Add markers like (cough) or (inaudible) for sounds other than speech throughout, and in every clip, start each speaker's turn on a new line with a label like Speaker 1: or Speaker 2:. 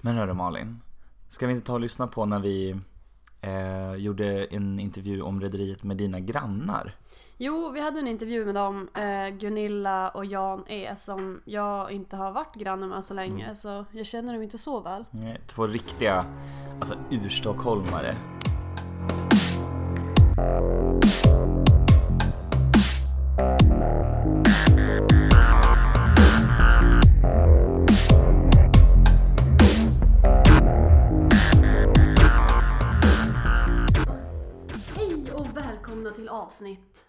Speaker 1: Men hörru Malin, ska vi inte ta och lyssna på när vi eh, gjorde en intervju om Rederiet med dina grannar?
Speaker 2: Jo, vi hade en intervju med dem, eh, Gunilla och Jan E, som jag inte har varit granne med så länge, så jag känner dem inte så väl.
Speaker 1: Nej, Eh, Två riktiga, alltså urstockholmare.
Speaker 2: Hej och välkomna till avsnitt!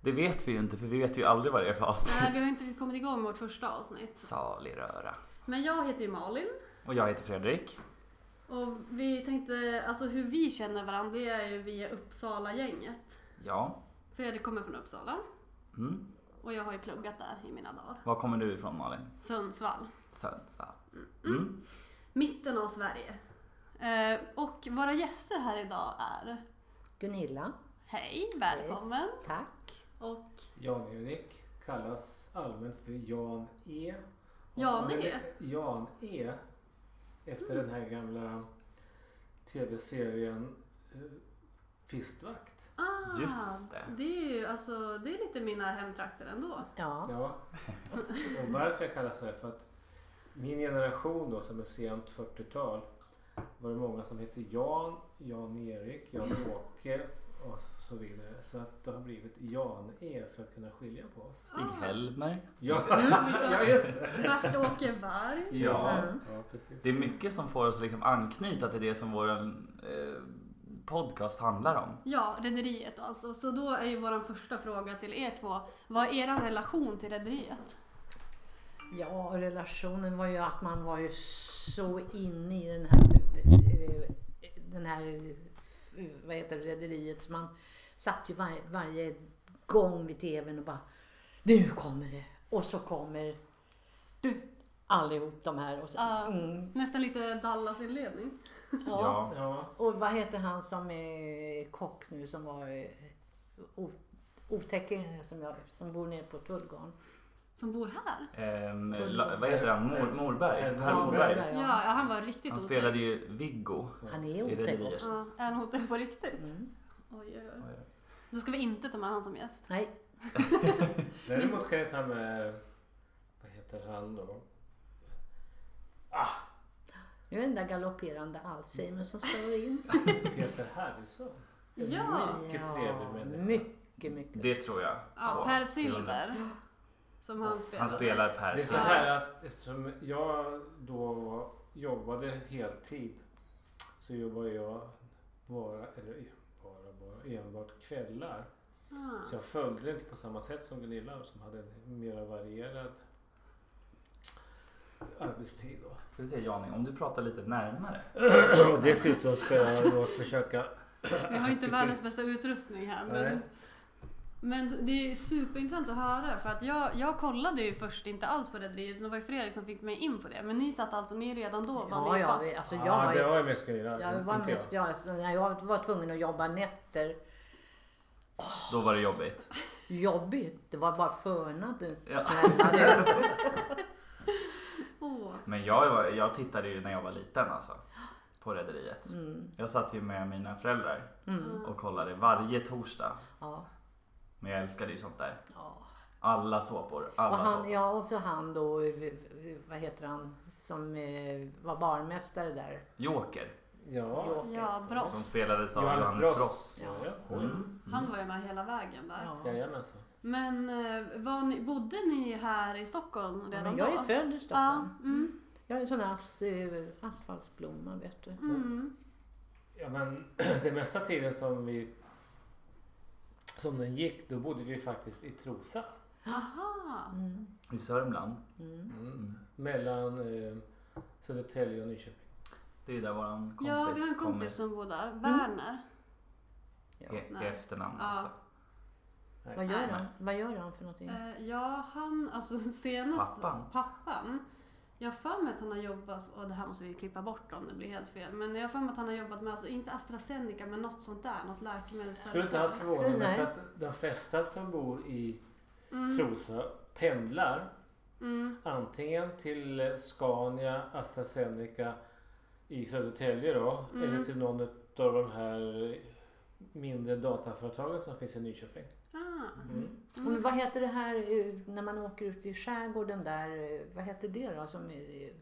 Speaker 1: Det vet vi ju inte för vi vet ju aldrig vad det är för avsnitt.
Speaker 2: Nej, vi har inte kommit igång med vårt första avsnitt.
Speaker 1: Salig röra.
Speaker 2: Men jag heter ju Malin
Speaker 1: Och jag heter Fredrik.
Speaker 2: och vi tänkte, alltså hur vi känner varandra, det är ju via Uppsala-gänget.
Speaker 1: Ja.
Speaker 2: Fredrik kommer från Uppsala
Speaker 1: Mm.
Speaker 2: och jag har ju pluggat där i mina dagar.
Speaker 1: Var kommer du ifrån Malin?
Speaker 2: Sundsvall.
Speaker 1: Sundsvall. Mm.
Speaker 2: Mitten av Sverige. Eh, och våra gäster här idag är
Speaker 3: Gunilla,
Speaker 2: Hej, välkommen!
Speaker 3: tack.
Speaker 2: Och
Speaker 4: Jan-Erik kallas allmänt för Jan E.
Speaker 2: Jan
Speaker 4: Och-
Speaker 2: E? Mm.
Speaker 4: Jan E. Efter den här gamla tv-serien eh, Pistvakt.
Speaker 2: ah,
Speaker 1: Just det.
Speaker 2: Det är ju alltså, det är lite mina hemtrakter ändå.
Speaker 3: Ja,
Speaker 4: Ja. Och varför jag kallas så här för att min generation då som är sent 40-tal var det många som hette Jan, Jan-Erik, Jan-Åke och så vidare. Så att det har blivit Jan-E för att kunna skilja på oss.
Speaker 1: Stig-Helmer.
Speaker 4: Ja,
Speaker 2: Mm, liksom.
Speaker 4: (laughs) ja just det.
Speaker 2: Vart-Åke Varg.
Speaker 1: Ja.
Speaker 3: Mm.
Speaker 4: ja precis.
Speaker 1: Det är mycket som får oss att liksom anknyta till det som vår eh, podcast handlar om.
Speaker 2: Ja, Rederiet alltså. Så då är ju vår första fråga till er två. Vad är er relation till Rederiet?
Speaker 3: ja och relationen var ju att man var ju så inne i den här, eh, den här eh, vad heter det, rederiet så man satt ju var, varje gång vid tvn och bara nu kommer det och så kommer du allihop de här och så,
Speaker 2: Ja.
Speaker 3: mm.
Speaker 2: Nästan lite Dallas-inledning.
Speaker 3: ja.
Speaker 4: Ja.
Speaker 3: Och vad heter han som är kock nu som var eh, o, otäcker som, jag, som bor nere på Tullgarn?
Speaker 2: Som bor här.
Speaker 1: Ehm, la, vad heter han? Mor, Morberg?
Speaker 4: Eh,
Speaker 1: Per Morberg.
Speaker 2: Ja, ja han var riktigt
Speaker 1: Han
Speaker 2: otäck.
Speaker 1: spelade ju Viggo
Speaker 3: Han är
Speaker 1: i
Speaker 3: otäck
Speaker 1: Rederier.
Speaker 3: också.
Speaker 2: Ja, är han otäck på riktigt?
Speaker 3: Mm.
Speaker 2: Oj, oj, oj.
Speaker 1: Oj, oj.
Speaker 2: Då ska vi inte ta med han som gäst.
Speaker 3: Nej,
Speaker 4: Däremot kan jag ta med, vad heter han då?
Speaker 3: nu är den där galopperande Alzheimer som slår in.
Speaker 4: Peter Harrison. En
Speaker 2: Ja.
Speaker 4: Mycket trevlig människa.
Speaker 3: mycket, mycket.
Speaker 1: Det tror jag
Speaker 2: Ja,
Speaker 1: på.
Speaker 2: Per Silver. Som han spelade.
Speaker 1: Han spelar
Speaker 4: Det
Speaker 1: Per
Speaker 4: är så
Speaker 1: Silver.
Speaker 4: här att eftersom jag då jobbade heltid så jobbade jag bara, eller bara, bara, enbart kvällar.
Speaker 2: Ah.
Speaker 4: Så jag följde det inte på samma sätt som Gunilla som hade en mer varierad arbetstid då.
Speaker 1: Ska vi se Janing, om du pratar lite närmare.
Speaker 4: Och dessutom ska jag då försöka...
Speaker 2: Vi har ju inte världens bästa utrustning här.
Speaker 4: Nej.
Speaker 2: Men, men det är superintressant att höra för att jag, jag kollade ju först inte alls på Rederiet utan det var ju Fredrik som fick mig in på det. Men ni satt alltså, ni redan då var
Speaker 3: Ja,
Speaker 2: ni
Speaker 3: ja,
Speaker 2: fast.
Speaker 3: vi- alltså jag
Speaker 4: Ja,
Speaker 3: har
Speaker 4: det
Speaker 3: ju
Speaker 4: var jag mest Gunilla.
Speaker 3: jag var
Speaker 4: inte jag.
Speaker 3: mest jag, efter- när jag var tvungen att jobba nätter.
Speaker 1: Då var det jobbigt.
Speaker 3: Jobbigt, det var bara förnaden. (laughs)
Speaker 1: Ja.
Speaker 3: Snälla du.
Speaker 2: Åh.
Speaker 1: Men jag, var- jag tittade ju när jag var liten alltså. På Rederiet.
Speaker 3: Mm.
Speaker 1: Jag satt ju med mina föräldrar
Speaker 3: Mm.
Speaker 1: och kollade varje torsdag.
Speaker 3: Ja.
Speaker 1: Men jag älskade ju sånt där.
Speaker 3: Ja.
Speaker 1: Alla såpor.
Speaker 3: Och
Speaker 1: Alla
Speaker 3: han,
Speaker 1: såpor.
Speaker 3: ja, och så han då, eh, vad heter han, som eh, var barmästare där.
Speaker 1: Joker.
Speaker 4: Ja.
Speaker 3: Joker.
Speaker 2: Ja,
Speaker 1: Som
Speaker 2: Brost.
Speaker 1: spelades av
Speaker 4: Johannes Brost. Ja.
Speaker 3: Ja.
Speaker 1: Mm.
Speaker 2: Han var ju med hela vägen där.
Speaker 3: Ja.
Speaker 4: Jajamensan.
Speaker 2: Men eh, var ni, bodde ni här i Stockholm
Speaker 3: Ja,
Speaker 2: redan
Speaker 3: men jag
Speaker 2: då?
Speaker 3: är född i
Speaker 2: Ja,
Speaker 3: Stockholm.
Speaker 2: mm,
Speaker 3: Jag är en sån här as, eh, asfaltsblomma, vet du.
Speaker 2: mm.
Speaker 4: Ja, men (clears throat) det mesta tiden som vi som den gick, då bodde vi faktiskt i Trosa.
Speaker 2: Aha.
Speaker 3: Mm.
Speaker 1: I Sörmland.
Speaker 3: Mm.
Speaker 4: Mm. Mellan eh, Södertälje och Nyköping.
Speaker 1: Det är ju där våran kompis
Speaker 2: Ja, vi har en kompis som bor där. Werner.
Speaker 3: Ja.
Speaker 1: kommer i- i
Speaker 2: Nej.
Speaker 1: efternamn
Speaker 2: Ja.
Speaker 1: alltså.
Speaker 3: Vad, gör han? Vad gör han för någonting?
Speaker 2: Eh, ja, han, alltså (laughs) senast
Speaker 1: Pappan.
Speaker 2: pappan. Jag har för mig att han har jobbat, och det här måste vi klippa bort om det blir helt fel, men jag har för mig att han har jobbat med, alltså inte AstraZeneca, men något sånt där, något
Speaker 4: Skulle
Speaker 2: läkemedelsföretag.
Speaker 4: inte alls förvåna mig
Speaker 3: Nej.
Speaker 4: för att de flesta som bor i
Speaker 2: mm,
Speaker 4: Trosa pendlar
Speaker 2: mm,
Speaker 4: antingen till Scania, AstraZeneca i Södertälje då.
Speaker 2: Mm.
Speaker 4: Eller till någon av de här mindre dataföretagen som finns i Nyköping.
Speaker 2: Ah.
Speaker 4: Mm.
Speaker 3: Och vad heter det här eh, när man åker ut i skärgården där? eh, Vad heter det då? Som, eh,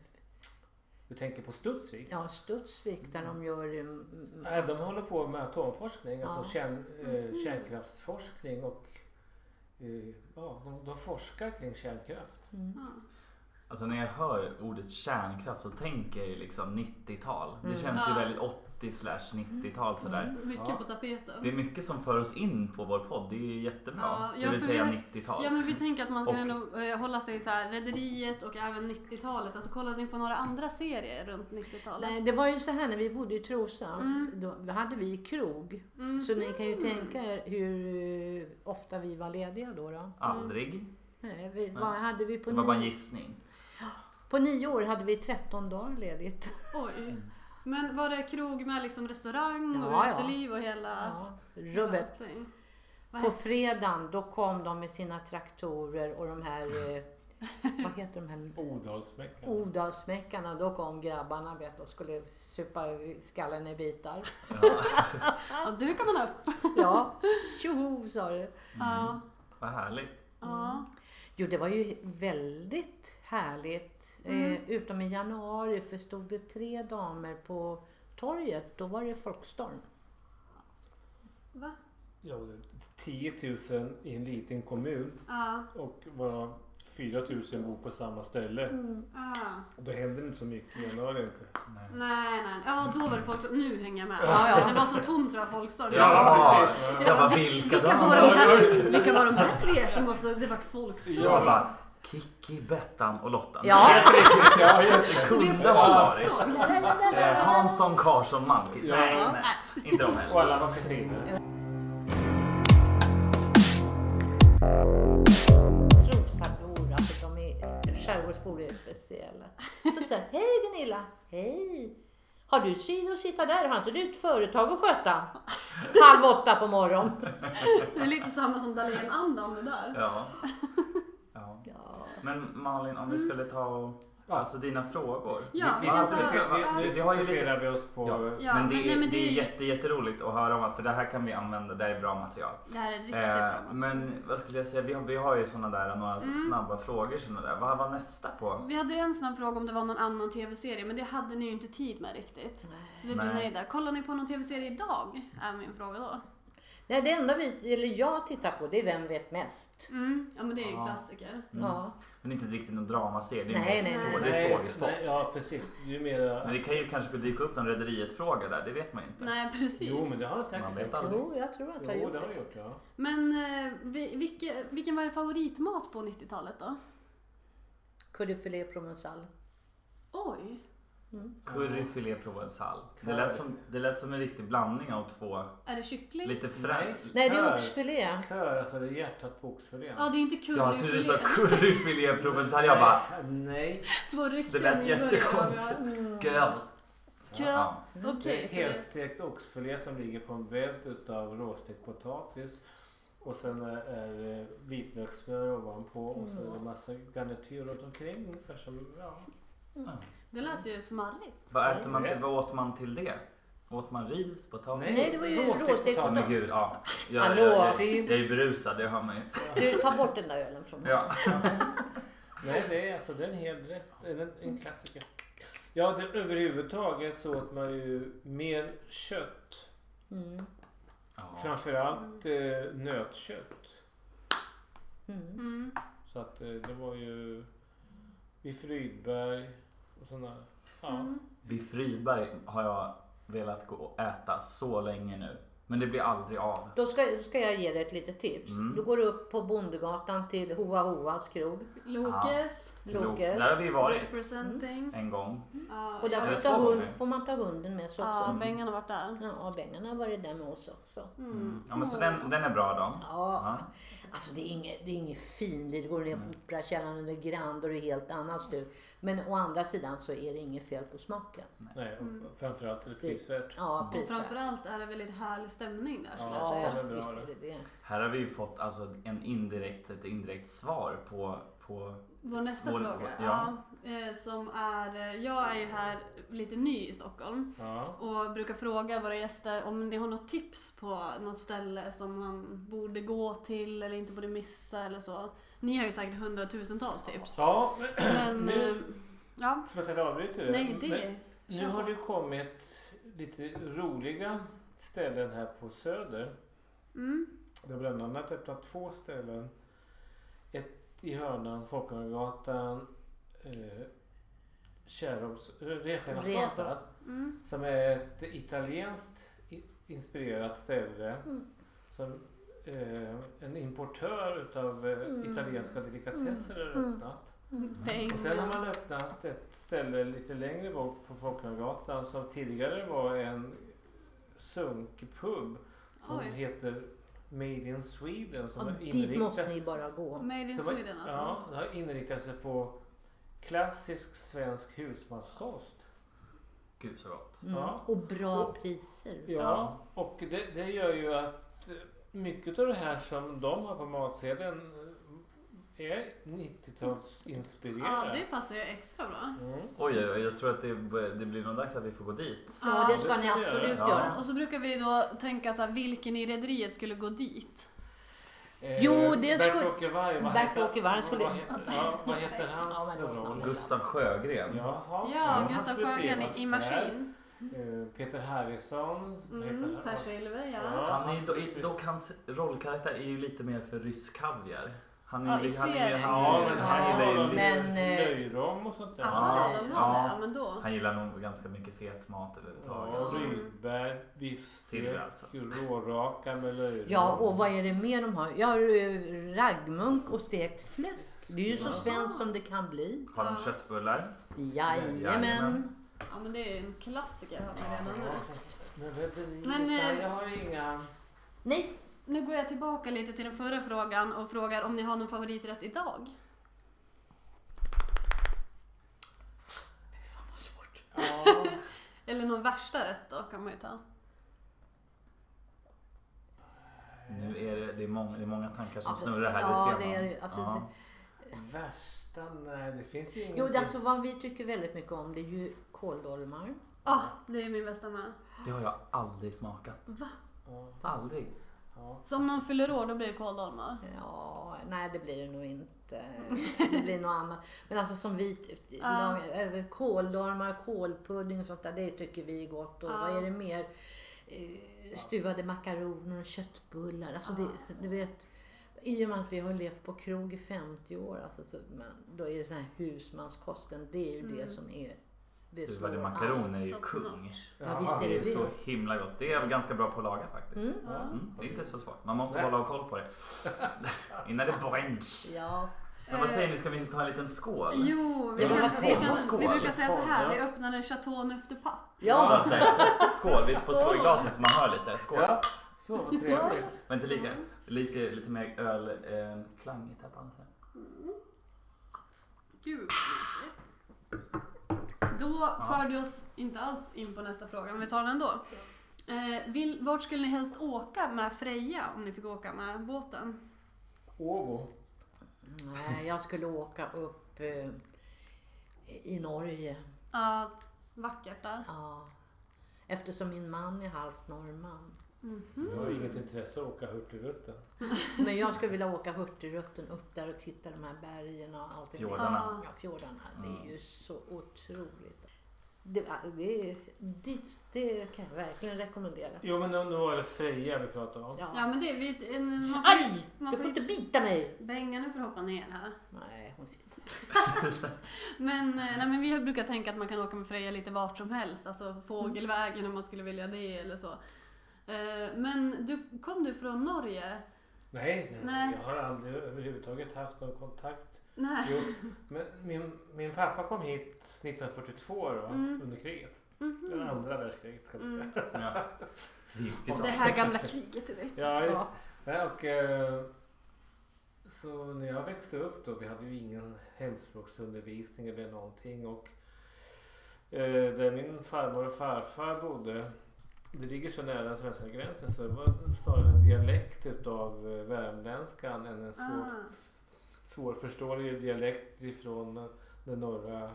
Speaker 4: Du tänker på Studsvik?
Speaker 3: ja, Studsvik där de gör... eh, m-
Speaker 4: Nej, de håller på med atomforskning,
Speaker 3: Ja.
Speaker 4: alltså kärn, eh, kärnkraftsforskning och eh, ja, de, de forskar kring kärnkraft.
Speaker 3: Mm.
Speaker 2: Ah.
Speaker 1: Alltså när jag hör ordet kärnkraft så tänker jag ju liksom 90-tal. Det
Speaker 3: Mm.
Speaker 1: känns ju
Speaker 2: Ja. Mm.
Speaker 1: väldigt 80 slash 90-tal sådär.
Speaker 2: Mycket
Speaker 4: Ja.
Speaker 2: på tapeten.
Speaker 1: Det är mycket som för oss in på vår podd, det är ju jättebra.
Speaker 2: Ja, ja,
Speaker 1: det vill
Speaker 2: för
Speaker 1: säga
Speaker 2: vi-
Speaker 1: 90-tal.
Speaker 2: Ja men vi tänker att man kan
Speaker 1: Och-
Speaker 2: ändå eh, hålla sig så här Rederiet och även 90-talet. Alltså kollade ni på några andra serier runt 90-talet?
Speaker 3: Nej, det var ju så här när vi bodde i Trosa.
Speaker 2: Mm.
Speaker 3: Då hade vi krog.
Speaker 2: Mm.
Speaker 3: Så ni kan ju tänka er hur eh, ofta vi var lediga då. då.
Speaker 1: Aldrig.
Speaker 2: Mm.
Speaker 3: Nej, vi, vad hade vi på,
Speaker 1: Det var bara en
Speaker 3: nio,
Speaker 1: gissning.
Speaker 3: på nio år hade vi 13 dagar ledigt.
Speaker 2: Oj. Men var det krog med liksom restaurang och
Speaker 3: Ja, ja.
Speaker 2: uteliv och hela...
Speaker 3: Ja, rubbet.
Speaker 2: allting? Vad
Speaker 3: På
Speaker 2: hette-
Speaker 3: fredagen då kom de med sina traktorer och de
Speaker 2: (laughs)
Speaker 3: här, eh, vad heter de här
Speaker 4: Odalsmäckan.
Speaker 3: Odalsmäckarna. Då kom grabbarna vet, du, och skulle supa skallen i bitar.
Speaker 2: Ja, du kan man upp.
Speaker 3: Ja, tjoho sa du.
Speaker 2: Ja.
Speaker 1: Vad härligt.
Speaker 2: Ja.
Speaker 3: Jo, det var ju väldigt härligt. Eh, utom i januari för stod det tre damer på torget. Då var det folkstorm.
Speaker 2: Va?
Speaker 4: Ja, det är 10 000 i en liten kommun
Speaker 2: Ja.
Speaker 4: och bara 4 000 bor på samma ställe.
Speaker 2: ja.
Speaker 4: Då händer inte så mycket i januari. inte.
Speaker 2: Nej, nej. Ja, då var det folk som... Nu hänger jag med.
Speaker 3: Ja, ja.
Speaker 2: Det var så tomt så det var folkstorm.
Speaker 4: Ja,
Speaker 1: Ja,
Speaker 4: precis. Ja.
Speaker 1: Jag bara, vilka
Speaker 2: Vilka var,
Speaker 1: damer?
Speaker 2: de här, vilka var de här tre som måste... Det vart folkstorm.
Speaker 1: Jag bara, Kikki, Bettan och Lotta.
Speaker 3: Ja.
Speaker 4: Helt riktigt, ja just
Speaker 2: Det blev
Speaker 1: kunde ha varit.
Speaker 2: folkstorm.
Speaker 1: Eh, Hansson, Karlsson, Malmqvist.
Speaker 4: Ja.
Speaker 1: Nej, nej. Inte de
Speaker 4: det. Och
Speaker 1: heller.
Speaker 4: alla var kusiner.
Speaker 3: Trosabor, alltså de är skärgårdsbor är speciella. Så säger hej Gunilla, hej! Har du tid att sitta där? Har inte du ett företag att sköta? Halv åtta på morgonen.
Speaker 2: Det är lite samma som Dahlén-andan det där.
Speaker 1: Ja. Ja.
Speaker 3: Ja.
Speaker 1: Men Malin, om vi
Speaker 2: Mm.
Speaker 1: skulle ta och- Alltså dina frågor.
Speaker 2: Ja, vi
Speaker 4: Vi
Speaker 2: kan ta...
Speaker 1: fokuserar-
Speaker 4: fokuserar-
Speaker 1: vi-
Speaker 4: Nu
Speaker 1: vi har ju lite-
Speaker 4: fokuserar vi oss på...
Speaker 1: Ja.
Speaker 2: Ja,
Speaker 1: men det,
Speaker 2: men- nej,
Speaker 1: är,
Speaker 2: men
Speaker 1: det är
Speaker 2: det-
Speaker 1: jätte, jätteroligt att höra om, för det här kan vi använda, det här är bra material.
Speaker 2: Det här är riktigt
Speaker 1: Eh,
Speaker 2: bra.
Speaker 1: men vad skulle jag säga, vi har, vi har ju såna där, några
Speaker 2: Mm.
Speaker 1: snabba frågor. Såna där. Vad var nästa på?
Speaker 2: Vi hade ju en snabb fråga om det var någon annan tv-serie, men det hade ni ju inte tid med riktigt. Så det blir
Speaker 1: Nej.
Speaker 2: nej där. Kollar ni på någon tv-serie idag? Är min fråga då.
Speaker 3: Nej, det enda vi, eller jag tittar på det är Vem vet mest?
Speaker 2: Mm, ja men det är ju
Speaker 1: Ja.
Speaker 2: klassiker.
Speaker 3: Ja.
Speaker 1: Men inte riktigt någon dramaserie, det är
Speaker 3: Nej,
Speaker 1: mer
Speaker 3: nej,
Speaker 1: frågor,
Speaker 2: nej.
Speaker 1: det är
Speaker 4: Nej,
Speaker 1: frågesport.
Speaker 4: nej, Ja, precis. Du menar...
Speaker 1: Men det kan ju kanske dyka upp någon Rederiet-fråga där, det vet man ju inte.
Speaker 2: Nej precis.
Speaker 4: Jo, men det har du säkert
Speaker 1: Man vet
Speaker 4: gjort.
Speaker 1: aldrig.
Speaker 3: Jo, jag tror att jag har
Speaker 4: Jo,
Speaker 3: gjort
Speaker 4: det har
Speaker 3: det.
Speaker 4: du gjort ja.
Speaker 2: Men eh, vi- vilke, vilken var er favoritmat på 90-talet då?
Speaker 3: Curryfilé provençal.
Speaker 2: Oj!
Speaker 1: Curry, filé, provençal. Det
Speaker 4: Curry.
Speaker 1: lät, som, det lät som en riktig blandning av två,
Speaker 2: Är det kyckling?
Speaker 1: lite frä...
Speaker 3: Nej, det är
Speaker 4: Kör.
Speaker 3: oxfilé.
Speaker 4: Kör, alltså det är hjärtat på oxfilén.
Speaker 2: Ja, det är inte
Speaker 1: Ja, Ture sa
Speaker 2: curryfilé.
Speaker 1: curry, filé, provençal. Jag bara,
Speaker 4: Nej.
Speaker 2: Det var riktigt
Speaker 1: det lät jättekonstigt. Girl.
Speaker 2: Kö.
Speaker 1: Ja.
Speaker 2: Okej, så
Speaker 4: det är
Speaker 2: det...
Speaker 4: helstekt oxfilé som ligger på en bädd utav råstekt potatis. Och sen är, är det vitlökssmör ovanpå och så är det massa garnityr runt omkring. Ungefär som, ja.
Speaker 2: det lät ju smarrigt.
Speaker 1: Vad, äter man till, vad åt man till det? Åt man ris, potatis?
Speaker 4: Nej,
Speaker 3: Nej, det var ju
Speaker 4: råstekt
Speaker 3: råstekt
Speaker 1: Ja, men
Speaker 4: potatis.
Speaker 1: gud, ja. Jag,
Speaker 3: Hallå.
Speaker 1: Jag, jag, jag är ju berusad, det hör man ju.
Speaker 3: Du, tar bort den där ölen från mig.
Speaker 1: Ja.
Speaker 4: Nej, det är alltså det är en hel rätt. Det är En, en klassiker. Ja, det, överhuvudtaget så åt man ju mer kött.
Speaker 3: Mm.
Speaker 1: Ja.
Speaker 4: Framförallt eh, nötkött.
Speaker 3: Mm.
Speaker 2: Mm.
Speaker 4: Så att eh, det var ju vid Frydberg och sådana. Ja.
Speaker 2: Mm.
Speaker 1: Biff Rydberg har jag velat gå och äta så länge nu. Men det blir aldrig av.
Speaker 3: Då ska, ska jag ge dig ett litet tips.
Speaker 1: Mm.
Speaker 3: Du går upp på Bondegatan till Hoa Hoas krog.
Speaker 2: Lokes.
Speaker 3: Loke.
Speaker 1: Där har vi varit
Speaker 2: Representing.
Speaker 1: en gång.
Speaker 2: Ja,
Speaker 3: Och där
Speaker 2: jag-
Speaker 3: får,
Speaker 1: Eller
Speaker 3: vi ta
Speaker 1: två
Speaker 3: hund,
Speaker 1: gånger.
Speaker 3: får man ta hunden med sig
Speaker 2: Ja,
Speaker 1: Mm.
Speaker 3: också.
Speaker 2: Bengan har varit där.
Speaker 3: Ja, Bengan har varit där med oss också.
Speaker 2: Mm.
Speaker 1: Ja, men så
Speaker 2: Åh.
Speaker 1: den, den är bra då.
Speaker 3: Ja,
Speaker 1: Ja.
Speaker 3: alltså det är inget, det är inget finlir. Du går ner på Operakällaren eller Grand och det är helt annat du. Men å andra sidan så är det inget fel på smaken.
Speaker 4: Nej, och
Speaker 2: Mm.
Speaker 4: framförallt är det prisvärt.
Speaker 3: Ja,
Speaker 2: Och
Speaker 3: precis.
Speaker 2: framförallt är det väldigt härlig stämning där skulle jag
Speaker 4: Ja.
Speaker 2: säga.
Speaker 3: Ja,
Speaker 4: det är bra
Speaker 3: visst
Speaker 4: det.
Speaker 3: är det det.
Speaker 1: Här har vi ju fått alltså en indirekt, ett indirekt svar på, på
Speaker 2: Vår nästa
Speaker 1: Vår-
Speaker 2: fråga.
Speaker 1: ja.
Speaker 2: Ja. eh, som är, jag är ju här lite ny i Stockholm
Speaker 4: Ja.
Speaker 2: och brukar fråga våra gäster om ni har något tips på något ställe som man borde gå till eller inte borde missa eller så. Ni har ju säkert hundratusentals tips.
Speaker 4: Ja, (clears throat) men,
Speaker 2: Men,
Speaker 4: Nu-
Speaker 2: eh, ja.
Speaker 4: förlåt att jag avbryter dig.
Speaker 2: Nej,
Speaker 4: Men-
Speaker 2: det...
Speaker 4: Nu har det ju kommit lite roliga ställen här på Söder.
Speaker 2: Mm.
Speaker 4: Det har bland annat öppnat två ställen. Ett i hörnan Folkungagatan, eh, Kärrops- eh, Reskärrasgatan.
Speaker 2: Mm.
Speaker 4: Som är ett italienskt i- inspirerat ställe.
Speaker 2: Mm.
Speaker 4: Som eh, en importör utav eh,
Speaker 2: Mm.
Speaker 4: italienska delikatesser har öppnat.
Speaker 2: Pengar.
Speaker 4: Och sen har man öppnat ett ställe lite längre bort på Folkungagatan som tidigare var en sunkpub som
Speaker 2: Oj.
Speaker 4: heter Made in Sweden som
Speaker 3: Och
Speaker 4: har
Speaker 3: dit måste
Speaker 4: inriktat,
Speaker 3: ni bara gå.
Speaker 2: Made in
Speaker 4: som har-
Speaker 2: Sweden alltså.
Speaker 4: ja, det har inriktat sig på klassisk svensk husmanskost.
Speaker 1: Gud så gott.
Speaker 3: Mm.
Speaker 4: Ja.
Speaker 3: Och bra
Speaker 4: Och-
Speaker 3: priser.
Speaker 4: Ja, och det, det gör ju att eh, mycket av det här som de har på matsedeln eh, är 90-talsinspirerat.
Speaker 2: Ja, det passar ju extra bra.
Speaker 4: Mm.
Speaker 1: Oj, oj, oj, jag tror att det, det blir nog dags att vi får gå dit.
Speaker 3: Ja, det ska
Speaker 4: det
Speaker 3: ni
Speaker 4: ska vi
Speaker 3: absolut
Speaker 1: göra.
Speaker 3: göra.
Speaker 2: Och så brukar vi då tänka så här, vilken i rederiet skulle gå dit?
Speaker 4: Eh,
Speaker 3: Jo, det skulle-
Speaker 4: Bert-Åke Varg, vad
Speaker 3: Bert-Åke
Speaker 4: heter-
Speaker 3: Varg skulle-
Speaker 4: Vad heter, ja, vad heter hans
Speaker 3: Ja, men-
Speaker 4: roll?
Speaker 1: Gustav Sjögren.
Speaker 4: Jaha, Mm.
Speaker 2: Ja,
Speaker 4: han
Speaker 2: Gustav
Speaker 4: skulle
Speaker 2: Sjögren
Speaker 4: trivas
Speaker 2: i, i
Speaker 4: där.
Speaker 2: maskin.
Speaker 4: Eh, Peter Harrison. heter
Speaker 2: Mm,
Speaker 4: han.
Speaker 2: per Silver, ja.
Speaker 4: Ja.
Speaker 1: Han är, ju
Speaker 4: skulle
Speaker 1: do-
Speaker 4: tri-
Speaker 1: dock hans rollkaraktär är ju lite mer för rysk kaviar. Han är,
Speaker 2: Ja, i
Speaker 1: ju- han, är,
Speaker 2: serien.
Speaker 1: han,
Speaker 4: Ja,
Speaker 1: är,
Speaker 4: men
Speaker 1: han,
Speaker 4: här
Speaker 3: Ja,
Speaker 1: gillar
Speaker 4: gillar
Speaker 1: ju
Speaker 4: de
Speaker 1: lite-
Speaker 3: men-
Speaker 4: lite löjrom och sånt där.
Speaker 2: Jaha,
Speaker 1: Ja,
Speaker 2: de har
Speaker 1: ja.
Speaker 2: det. eh, Ja, men då.
Speaker 1: han gillar nog ganska mycket fet mat
Speaker 4: Ja,
Speaker 1: överhuvudtaget.
Speaker 2: Mm.
Speaker 4: Rydberg,
Speaker 1: Silver
Speaker 4: biffstek,
Speaker 1: alltså.
Speaker 4: råraka med löjrom.
Speaker 3: Ja, och vad är det mer de har? Jag har eh, raggmunk och stekt fläsk. Det är ju så
Speaker 1: Ja.
Speaker 3: svenskt som det kan bli.
Speaker 1: Har de köttbullar? Jajamän.
Speaker 3: Jajamän.
Speaker 2: Ja, men det är ju en klassiker hör man redan nu.
Speaker 4: Men, rederiet,
Speaker 2: Men,
Speaker 4: nej,
Speaker 2: eh,
Speaker 4: jag
Speaker 3: (laughs)
Speaker 4: har inga...
Speaker 3: Nej,
Speaker 2: Nu går jag tillbaka lite till den förra frågan och frågar om ni har någon favoriträtt idag?
Speaker 4: Ja,
Speaker 2: Eller någon värsta rätt då kan man ju ta.
Speaker 1: Nu är det, det, är många, det är många tankar som
Speaker 3: Alltså,
Speaker 1: snurrar här,
Speaker 3: ja,
Speaker 1: det ser man.
Speaker 3: det är det. Alltså,
Speaker 1: ja.
Speaker 4: värsta? Nej, det finns ju inget.
Speaker 3: jo, det är alltså vad vi tycker väldigt mycket om det är ju kåldolmar.
Speaker 2: Ah, det är min bästa med.
Speaker 1: det har jag aldrig smakat.
Speaker 2: Va?
Speaker 4: Ja,
Speaker 1: Aldrig.
Speaker 4: ja.
Speaker 2: Så om någon fyller år då blir det kåldolmar?
Speaker 3: Ja, nej det blir det nog inte. Det blir något annat. Men alltså som vi,
Speaker 2: Ja.
Speaker 3: uh. kåldolmar, kålpudding och sånt där, det tycker vi är gott. Och
Speaker 2: Ja.
Speaker 3: vad är det mer? Eh, Stuvade makaroner och köttbullar. Alltså det, du vet, i och med att vi har levt på krog i 50 år, alltså, så man, då är det sån här husmanskosten, det är ju
Speaker 2: Mm.
Speaker 3: det som är... Det
Speaker 1: Stuvade
Speaker 3: slår an.
Speaker 1: makaroner är ju
Speaker 2: Top
Speaker 1: kung.
Speaker 3: Ja, visst är
Speaker 1: Det
Speaker 3: det
Speaker 1: är så
Speaker 3: det.
Speaker 1: himla gott. Det är ganska bra på att laga faktiskt.
Speaker 3: Mm.
Speaker 2: Ja.
Speaker 1: Mm, det är inte så svårt. Man måste hålla koll på det. (laughs) Innan det bränns.
Speaker 3: Ja,
Speaker 1: Men vad säger ni, ska vi inte ta en liten skål?
Speaker 2: Eh, Jo, vi,
Speaker 1: Ja,
Speaker 2: kan,
Speaker 1: men
Speaker 2: vi, kan,
Speaker 1: skål.
Speaker 2: vi brukar säga så här,
Speaker 4: Skål,
Speaker 2: vi
Speaker 4: ja.
Speaker 2: öppnar en chateauneuf de papp.
Speaker 1: Så
Speaker 3: ja.
Speaker 1: att säga. Skål, vi får slå i glasen så man hör lite. Skål.
Speaker 4: Ja, så vad trevligt.
Speaker 1: Men inte lika, lika, lite mer ölklangigt eh, klangigt här på andra sidan.
Speaker 2: Gud, mysigt. Då för det oss inte alls in på nästa fråga, men vi tar den ändå. Eh, vill, vart skulle ni helst åka med Freja om ni fick åka med båten?
Speaker 4: Åbo.
Speaker 3: Nej, jag skulle åka upp eh, i Norge.
Speaker 2: Ja, vackert där.
Speaker 3: Ja. Eftersom min man är halvt norrman.
Speaker 2: Mhm.
Speaker 4: Jag har inget intresse av att åka Hurtigruten.
Speaker 3: Men jag skulle vilja åka Hurtigruten upp där och titta de här bergen och allt. det där.
Speaker 1: Fjordarna.
Speaker 3: Ja, fjordarna. Det
Speaker 4: Mm.
Speaker 3: är ju så otroligt. Det, det, är- dit, det kan jag verkligen rekommendera.
Speaker 4: Jo, men nu, nu var det Freja vi pratade om.
Speaker 2: Ja,
Speaker 3: Ja.
Speaker 2: men det är vi, en, man får,
Speaker 3: Aj!
Speaker 2: man
Speaker 3: Du får
Speaker 2: får,
Speaker 3: inte bita mig!
Speaker 2: Benga, nu får du hoppa ner här.
Speaker 3: Nej, hon sitter.
Speaker 2: Men, eh, nej, men vi brukar tänka att man kan åka med Freja lite vart som helst, alltså fågelvägen om man skulle vilja det eller så. Eh, Men du, kom du från Norge?
Speaker 4: Nej, nej,
Speaker 2: Nej.
Speaker 4: jag har aldrig överhuvudtaget haft någon kontakt.
Speaker 2: Nej.
Speaker 4: (laughs) Jo, men min, min pappa kom hit 1942 då,
Speaker 3: Mm.
Speaker 4: under kriget.
Speaker 2: Mhm.
Speaker 4: Det andra världskriget ska vi säga.
Speaker 1: Ja. Vilket
Speaker 2: Mm. Det
Speaker 1: år.
Speaker 2: här gamla kriget du vet.
Speaker 4: Ja, just. Nej, och, eh, så när jag växte upp då, vi hade ju ingen hemspråksundervisning eller någonting. Och, eh, där min farmor och farfar bodde, det ligger så nära den svenska gränsen så det var snarare en dialekt utav eh, värmländskan än en svår,
Speaker 2: Ah.
Speaker 4: svårförståelig dialekt ifrån den norra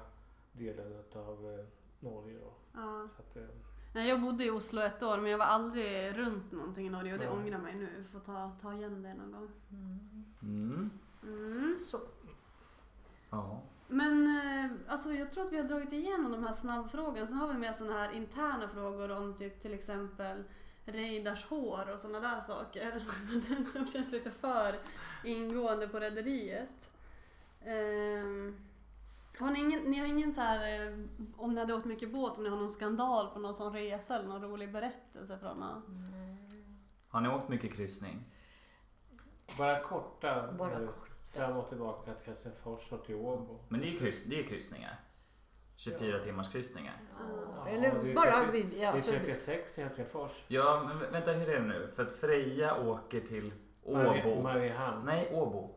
Speaker 4: delen av Norge. Då.
Speaker 2: Ja.
Speaker 4: Så att, eh,
Speaker 2: Nej, jag bodde i Oslo ett år men jag var aldrig runt någonting i Norge och det
Speaker 4: Nej.
Speaker 2: ångrar mig nu. Vi får ta, ta igen det någon gång.
Speaker 3: Mm.
Speaker 1: Mm.
Speaker 2: Mm.
Speaker 3: Så.
Speaker 1: Ja.
Speaker 2: Men eh, alltså, jag tror att vi har dragit igenom de här snabbfrågorna. Sen har vi med sådana här interna frågor om typ till exempel Reidars hår och sådana där saker. (laughs) de känns lite för ingående på rederiet. Ehm, har ni, ingen, ni har ingen så här, eh, om ni hade åkt mycket båt, om ni har någon skandal på någon sån resa eller någon rolig berättelse från någon?
Speaker 1: Har ni åkt mycket kryssning?
Speaker 4: bara korta
Speaker 3: Bara
Speaker 4: nu, fram och tillbaka till Helsingfors och till Åbo.
Speaker 1: Men det är ju kryss, det är ju kryssningar. 24 timmars kryssningar.
Speaker 3: Ja.
Speaker 4: Ja, det
Speaker 3: Eller
Speaker 4: är
Speaker 3: bara...
Speaker 4: 30
Speaker 3: vi-
Speaker 4: Det
Speaker 3: ja,
Speaker 4: är
Speaker 3: så-
Speaker 4: 36 i Helsingfors.
Speaker 1: Ja, men vä- vänta hur är det nu? För att Freja åker till Åbo.
Speaker 4: Marie- Mariehamn.
Speaker 1: Nej, Åbo.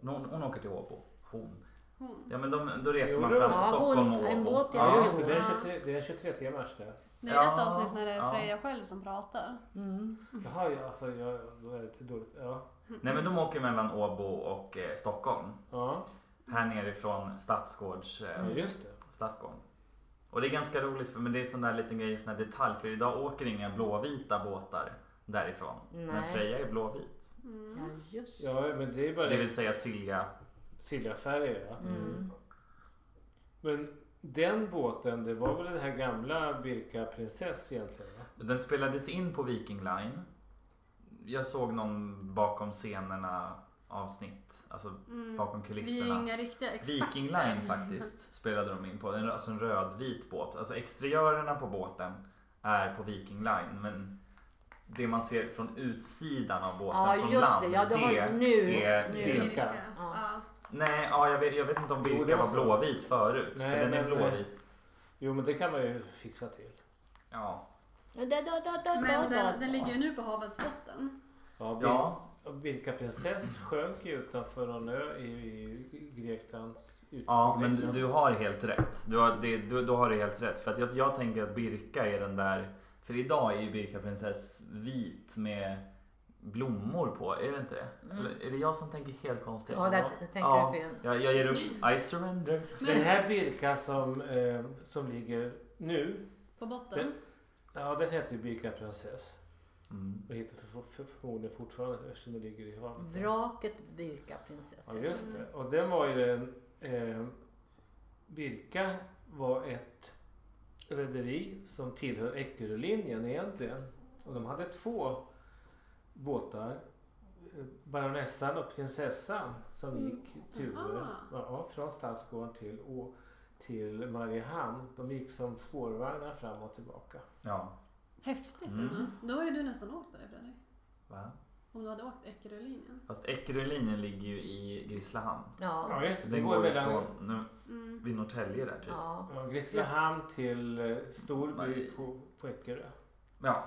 Speaker 1: Hon, hon åker till Åbo. Hon.
Speaker 2: Hon.
Speaker 1: Ja, men de, då reser
Speaker 4: Jo,
Speaker 1: man
Speaker 4: då.
Speaker 1: fram till
Speaker 3: Ja,
Speaker 1: Stockholm
Speaker 3: hon-
Speaker 1: och
Speaker 3: en
Speaker 1: Åbo.
Speaker 3: båt,
Speaker 4: Ja,
Speaker 1: Ja.
Speaker 4: just det. Det
Speaker 2: Ja.
Speaker 4: är 23, det är 23 timmars det.
Speaker 2: Det är
Speaker 1: Ja,
Speaker 2: ett avsnitt när det är
Speaker 1: ja.
Speaker 2: Freja själv som pratar.
Speaker 3: Mm.
Speaker 4: Jaha, jag, alltså, jag det var lite dåligt. Ja.
Speaker 1: Nej, men de åker mellan Åbo och eh, Stockholm.
Speaker 4: Ja.
Speaker 1: Här nerifrån Stadsgårds, eh,
Speaker 4: ja, just det.
Speaker 1: Stadsgården. Och det är ganska roligt, för, men det är sån där liten grej, sån där detalj. För idag åker inga blåvita båtar därifrån. Men
Speaker 3: Nej.
Speaker 1: Freja är blåvit.
Speaker 2: Mm.
Speaker 3: Ja, just
Speaker 4: Ja, men det är bara
Speaker 1: Det
Speaker 4: det
Speaker 1: vill säga Silja.
Speaker 4: Siljafärger. Ja.
Speaker 3: Mm.
Speaker 4: Men den båten, det var väl den här gamla Birka prinsess egentligen? Va?
Speaker 1: Den spelades in på Viking Line. Jag såg någon bakom scenerna avsnitt, alltså
Speaker 2: Mm.
Speaker 1: bakom
Speaker 2: Vi är ju
Speaker 1: kulisserna.
Speaker 2: inga riktiga experter.
Speaker 1: Viking Line faktiskt spelade de in på. En- Alltså en rödvit båt. Alltså exteriörerna på båten är på Viking Line men det man ser från utsidan av båten
Speaker 3: Ja,
Speaker 1: från
Speaker 3: just det.
Speaker 1: land.
Speaker 3: Ja, det har- nu-
Speaker 1: är
Speaker 3: nu.
Speaker 1: Birka.
Speaker 2: Birka.
Speaker 3: Ja.
Speaker 2: Ja.
Speaker 1: Nej, ja, jag, vet, jag vet inte om
Speaker 4: Jo,
Speaker 1: Birka
Speaker 4: det var
Speaker 1: var
Speaker 4: så.
Speaker 1: blåvit förut.
Speaker 4: Nej,
Speaker 1: för den är
Speaker 4: men-
Speaker 1: blåvit.
Speaker 4: Jo, men det kan man ju fixa till.
Speaker 1: Ja.
Speaker 3: Da, da, da, da, da,
Speaker 2: Men
Speaker 3: da,
Speaker 2: den,
Speaker 3: da.
Speaker 2: den ligger ju nu på havets botten.
Speaker 4: Ja, Bir-
Speaker 1: ja.
Speaker 4: och Birka prinsess sjönk ju utanför någon ö i, i Greklands
Speaker 1: Ja, men du,
Speaker 4: utkanter.
Speaker 1: du har helt rätt. Du har, det, du, du har det helt rätt. För att jag, jag tänker att Birka är den där... För idag är ju Birka prinsess vit med blommor på. Är det inte det? Eller är det jag som tänker helt konstigt?
Speaker 3: Ja, där t- tänker
Speaker 1: Ja,
Speaker 3: du fel.
Speaker 1: Jag, jag ger upp. I surrender.
Speaker 4: Den här Birka som, eh, som ligger nu,
Speaker 2: På botten.
Speaker 4: ja den heter ju Birka prinsess.
Speaker 1: Mm.
Speaker 4: Den heter för, för, förmodligen fortfarande eftersom den ligger i havet.
Speaker 3: Vraket Birka
Speaker 4: Ja,
Speaker 3: prinsessa.
Speaker 4: just det. Och den var ju den... Eh, Birka var ett rederi som tillhör Eckerölinjen egentligen. Och de hade två båtar. eh, Baronessan och prinsessan som gick turer
Speaker 2: Aha.
Speaker 4: ja, från Stadsgården till, Å- till Mariehamn. De gick som spårvagnar fram och tillbaka.
Speaker 1: Ja.
Speaker 2: Häftigt
Speaker 1: Mm.
Speaker 2: ändå. Då har ju du nästan åkt på det Fredrik.
Speaker 1: Va?
Speaker 2: Om du hade åkt Eckerölinjen.
Speaker 1: Fast Eckerölinjen ligger ju i Grisslehamn.
Speaker 3: Ja.
Speaker 4: Ja, just det. Det
Speaker 1: Den
Speaker 4: går
Speaker 1: går ju
Speaker 4: mellan
Speaker 1: från nu,
Speaker 2: Mm.
Speaker 1: vid Norrtälje där typ.
Speaker 3: ja.
Speaker 4: ja, Grisslehamn till eh, Storby
Speaker 1: Marie.
Speaker 4: på, på Eckerö.
Speaker 1: Ja.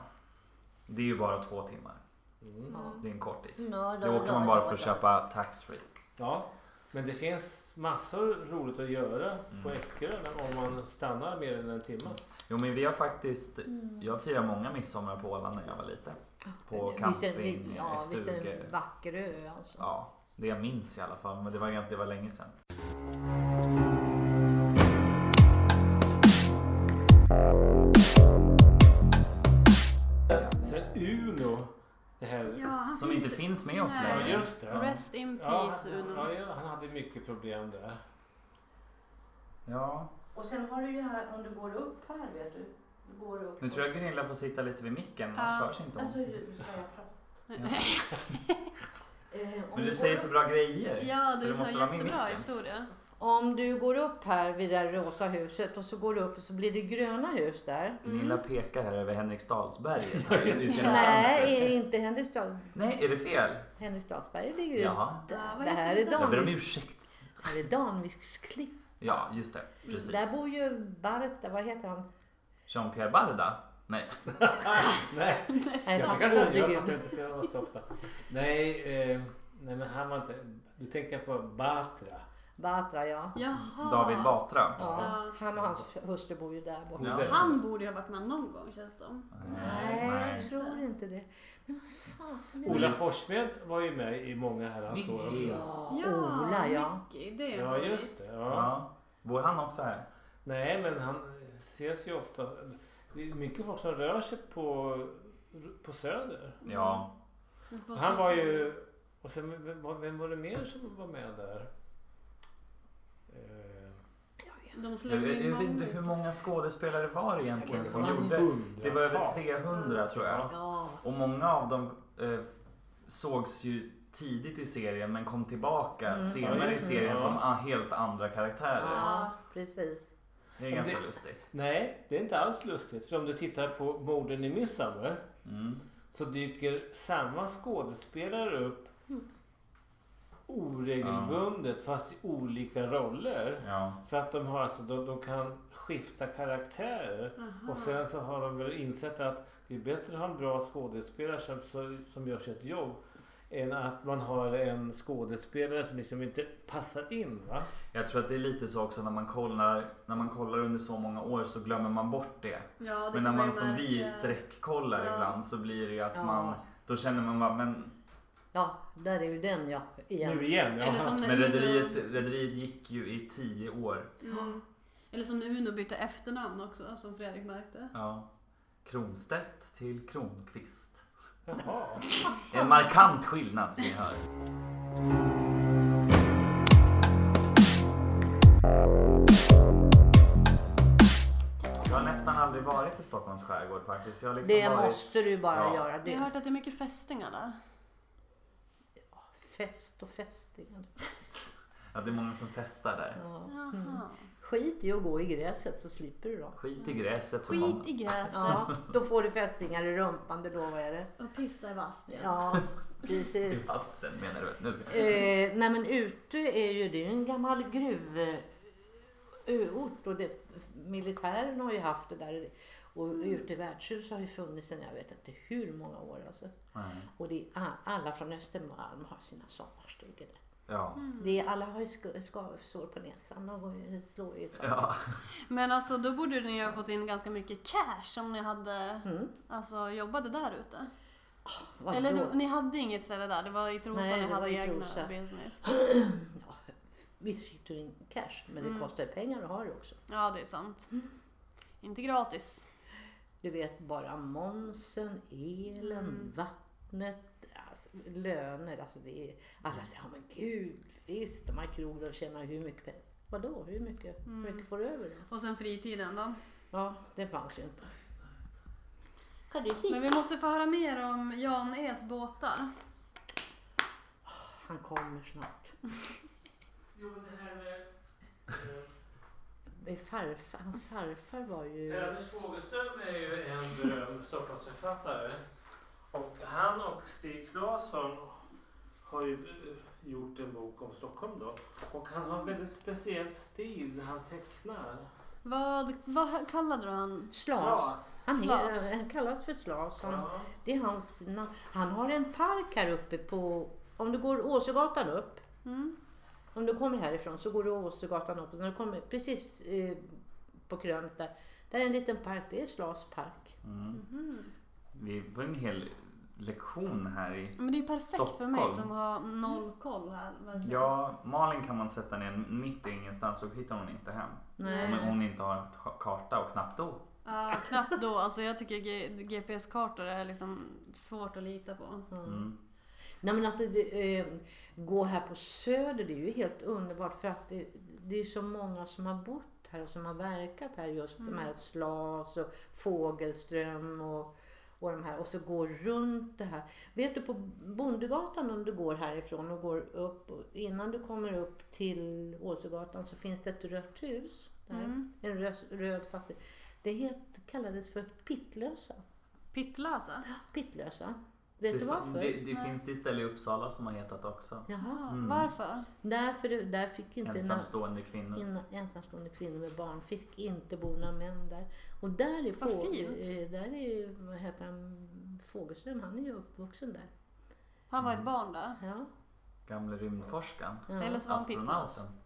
Speaker 1: Det är ju bara två timmar.
Speaker 4: Mm.
Speaker 3: Ja.
Speaker 1: Det är en kortis.
Speaker 3: Nå,
Speaker 1: Då åker man bara för att köpa taxfree.
Speaker 4: Ja, men det finns massor roligt att göra på
Speaker 1: Mm.
Speaker 4: Eckerö när- om man stannar mer än en timme.
Speaker 1: Jo men vi har faktiskt,
Speaker 3: Mm.
Speaker 1: jag firade många midsommar på Åland när jag var liten. På
Speaker 3: Visst är det- vi-
Speaker 1: camping, ja,
Speaker 3: Ja, visst är det
Speaker 1: stugor.
Speaker 3: en vacker ö alltså.
Speaker 1: Ja, det jag minns i alla fall. Men det var, ganska- det var länge sedan.
Speaker 4: Sen Uno, det här...
Speaker 2: Ja, han
Speaker 1: Som
Speaker 2: finns
Speaker 1: inte finns med oss
Speaker 2: Nej.
Speaker 1: längre.
Speaker 4: Ja, just det.
Speaker 2: Rest in
Speaker 4: ja,
Speaker 2: peace Uno.
Speaker 4: ja, ja, han hade mycket problem där.
Speaker 1: Ja,
Speaker 3: Och sen har du ju här, om du går upp här vet du. Du går upp.
Speaker 1: nu tror jag Gunilla får sitta lite vid micken, annars
Speaker 2: Ja.
Speaker 1: hörs inte
Speaker 3: alltså,
Speaker 1: hon.
Speaker 3: ska jag Eh, prata?
Speaker 1: Men du säger så bra grejer.
Speaker 2: (laughs) Ja,
Speaker 1: Så
Speaker 2: du
Speaker 1: det
Speaker 2: har
Speaker 1: måste vara med i
Speaker 2: jättebra
Speaker 1: mitten.
Speaker 2: historia.
Speaker 3: Om du går upp här vid det där rosa huset och så går du upp och så blir det gröna hus där.
Speaker 1: Gunilla pekar här över
Speaker 4: (laughs)
Speaker 1: Henriksdalsberget. Här är det lite
Speaker 3: Nej,
Speaker 1: vänster.
Speaker 3: är det inte Henriksdal.
Speaker 1: Nej, är det fel?
Speaker 3: Henriksdalsberget ligger ju
Speaker 1: Jaha.
Speaker 3: där.
Speaker 2: Ja, vad
Speaker 3: det här
Speaker 2: heter
Speaker 3: är
Speaker 2: det?
Speaker 1: Jag ber om
Speaker 3: Danviks,
Speaker 1: ursäkt.
Speaker 3: här är Danviks klipp.
Speaker 1: Ja, just det.
Speaker 3: Mm, Där
Speaker 1: Precis.
Speaker 3: bor ju Barta, vad heter han?
Speaker 1: Jean-Pierre Barda? Nej.
Speaker 4: Nej,
Speaker 3: Nej,
Speaker 4: jag
Speaker 3: han
Speaker 4: kanske han
Speaker 3: bodde i
Speaker 4: gör
Speaker 3: Gud.
Speaker 4: fast jag inte ser honom så ofta. Nej, eh, nej, men han var inte... Du tänker på Batra.
Speaker 3: Batra, ja.
Speaker 2: Jaha.
Speaker 1: David Batra?
Speaker 3: Ah. ja.
Speaker 2: Ja.
Speaker 3: Han och hans hustru bor ju där borta.
Speaker 1: Ja.
Speaker 2: Han borde ju ha varit med någon gång känns det som.
Speaker 3: Nej,
Speaker 1: Nej.
Speaker 3: jag tror inte det. Men vad fasen
Speaker 2: Mm.
Speaker 3: är det?
Speaker 4: Ola Forsmed var ju med i många herrans år också.
Speaker 1: Mycket.
Speaker 3: Ja,
Speaker 2: Ja,
Speaker 3: Ola ja.
Speaker 2: Mickey, det är en
Speaker 4: Ja,
Speaker 2: favorit.
Speaker 4: just det. Ja.
Speaker 1: Ja. Bor han också här?
Speaker 4: Nej, men han ses ju ofta. Det är mycket folk som rör sig på, på Söder.
Speaker 1: Ja.
Speaker 2: Men Mm. får
Speaker 4: Han var
Speaker 2: snart-
Speaker 4: ju... Och sen, vem var- vem var det mer som var med där? Eh,
Speaker 2: De slog
Speaker 1: Jag vet
Speaker 2: in
Speaker 1: jag vet inte
Speaker 2: Magnus.
Speaker 1: hur många skådespelare var det egentligen
Speaker 3: Jag
Speaker 1: som
Speaker 3: kan-
Speaker 1: gjorde? Det var över
Speaker 4: hundratals.
Speaker 1: 300 tror jag.
Speaker 3: Ja,
Speaker 1: Och många av dem eh, sågs ju tidigt i serien men kom tillbaka
Speaker 3: Mm.
Speaker 1: senare i
Speaker 4: Mm.
Speaker 1: serien
Speaker 4: Ja.
Speaker 1: som ah, helt andra karaktärer.
Speaker 3: ja precis.
Speaker 1: Det är ganska
Speaker 4: Det-
Speaker 1: lustigt.
Speaker 4: Nej, det är inte alls lustigt. För om du tittar på morden i Midsummer
Speaker 1: Mm.
Speaker 4: så dyker samma skådespelare upp oregelbundet fast i olika roller.
Speaker 1: Ja.
Speaker 4: För att de, har alltså, de, de kan skifta karaktärer. Och sen så har de väl insett att det är bättre att ha en bra skådespelare som, så- som gör sitt jobb. Än att man har en skådespelare som liksom inte passar in. Va?
Speaker 1: Jag tror att det är lite så också när man kollar, när man kollar under så många år så glömmer man bort det.
Speaker 2: Ja, det
Speaker 1: Men när
Speaker 2: kan
Speaker 1: man
Speaker 2: ju
Speaker 1: som vi
Speaker 2: märka.
Speaker 1: sträckkollar
Speaker 2: Ja.
Speaker 1: ibland så blir det ju att
Speaker 3: Ja.
Speaker 1: man då känner man bara, men,
Speaker 3: Ja, där är ju den ja. Igen.
Speaker 4: Nu igen.
Speaker 2: Eller som
Speaker 4: (laughs) Ja.
Speaker 2: när
Speaker 1: men
Speaker 2: Uno-
Speaker 1: rederiet, rederiet gick ju i tio år.
Speaker 2: Mm. Eller som när Uno bytte efternamn också, som Fredrik märkte.
Speaker 1: Ja. Kronstedt till Kronqvist.
Speaker 4: Jaha.
Speaker 1: En markant skillnad som ni hör. Jag har nästan aldrig varit i Stockholms skärgård faktiskt. Jag har liksom
Speaker 3: Det
Speaker 1: varit...
Speaker 3: måste du bara
Speaker 1: Ja.
Speaker 3: göra.
Speaker 2: Vi har
Speaker 3: Det.
Speaker 2: hört att det är mycket fästingar där.
Speaker 3: Fest och fästingar.
Speaker 1: Ja, det är många som festar där.
Speaker 3: Ja.
Speaker 2: Jaha.
Speaker 3: Skit i att gå i gräset så slipper du dem.
Speaker 1: Skit i gräset som många...
Speaker 2: Skit i gräset
Speaker 3: Mm. Ja, då får du fästingar i rumpan, det lovar jag dig.
Speaker 2: och pissa i vasken.
Speaker 3: (laughs) Ja,
Speaker 1: I
Speaker 3: precis.
Speaker 1: vassen menar du? Nu ska...
Speaker 3: Eh, nej men Utö är ju det är ju en gammal gruv eh, öort och det, militären har ju haft det där. Och Utö värdshus har ju funnits sedan jag vet inte hur många år alltså.
Speaker 1: Nej.
Speaker 3: Och det är, a- alla från Östermalm har sina sommarstugor där.
Speaker 1: Ja.
Speaker 3: Det är, alla har ju sk- skavsår på näsan och går ju- slår ju ja.
Speaker 1: ja.
Speaker 2: Men alltså då borde ni ha fått in ganska mycket cash om ni hade
Speaker 3: Mm.
Speaker 2: alltså, jobbade där ute.
Speaker 3: Vadå?
Speaker 2: Eller du, ni hade inget ställe där, det var i Trosa
Speaker 3: Nej,
Speaker 2: ni
Speaker 3: det var
Speaker 2: hade
Speaker 3: i
Speaker 2: egna
Speaker 3: Trosa.
Speaker 2: business.
Speaker 3: ja, visst fick du in cash, men det kostar ju pengar att ha det också.
Speaker 2: Ja, det är sant. Inte gratis.
Speaker 3: Du vet bara momsen, elen, vattnet, alltså, löner. Alltså det är, alla säger ja men gud, visst de här krogarna tjänar hur mycket pengar. Vadå, hur mycket? Hur mycket får du över då?
Speaker 2: Och sen fritiden då.
Speaker 3: Ja, det fanns ju inte. Kan du
Speaker 2: Men vi måste få höra mer om Jan Es båtar.
Speaker 3: Han kommer snart.
Speaker 4: Jo, men det här med eh,
Speaker 3: Det är Farfar, hans farfar var ju...
Speaker 4: Anders Fogelström är ju en berömd Stockholmsförfattare. Och han och Stig Claesson har ju eh, gjort en bok om Stockholm då. Och han har en väldigt speciell stil när han tecknar.
Speaker 2: Vad, vad kallade du han?
Speaker 3: Slas. Han,
Speaker 2: Slas.
Speaker 3: är, han kallas för Slas. Han,
Speaker 4: Ja.
Speaker 3: det är hans, namn. han har en park här uppe på... Om du går Åsögatan upp
Speaker 2: Mm.
Speaker 3: Om du kommer härifrån så går du Åsögatan upp och när du kommer precis eh, på krönet där. Där är en liten park, det är Slas park.
Speaker 1: Mm.
Speaker 2: Mm-hmm.
Speaker 1: Vi får en hel lektion här i...
Speaker 2: Men det är ju perfekt för
Speaker 1: Stockholm.
Speaker 2: mig som har noll koll här. Verkligen.
Speaker 1: Ja, Malin kan man sätta ner mitt i ingenstans så hittar hon inte hem.
Speaker 3: Nej.
Speaker 1: Om hon inte har ett karta och knappt då.
Speaker 2: Ja, knappt då. Alltså jag tycker G- GPS-kartor är liksom svårt att lita på.
Speaker 1: Mm.
Speaker 3: Nej men alltså det, eh, gå här på Söder det är ju helt underbart för att det, det är så många som har bott här och som har verkat här just de här Slas och Fågelström och, och de här och så går runt det här. Vet du på Bondegatan om du går härifrån och går upp och innan du kommer upp till Åsögatan så finns det ett rött hus. Där,
Speaker 2: Mm.
Speaker 3: En röd, röd fastighet. Det het, kallades för Pittlösa.
Speaker 2: Pittlösa?
Speaker 3: Pittlösa. Vet du varför?
Speaker 1: Det, det finns det ställe i Uppsala som har hetat också.
Speaker 3: Jaha.
Speaker 2: Ja,
Speaker 1: Mm.
Speaker 2: Varför?
Speaker 3: Därför det- där fick inte na-
Speaker 1: Ensamstående kvinnor.
Speaker 3: in- ensamstående kvinnor med barn fick inte bo några män där. Och där är,
Speaker 2: Vad
Speaker 3: få,
Speaker 2: fint.
Speaker 3: eh, där är vad heter han, Fogelström, han är ju uppvuxen där.
Speaker 2: Han var ett
Speaker 1: Mm.
Speaker 2: barn där.
Speaker 3: Ja,
Speaker 1: Gamle rymdforskaren.
Speaker 3: ja.
Speaker 2: Eller så var han pittlös.
Speaker 1: Mm. Astronauten.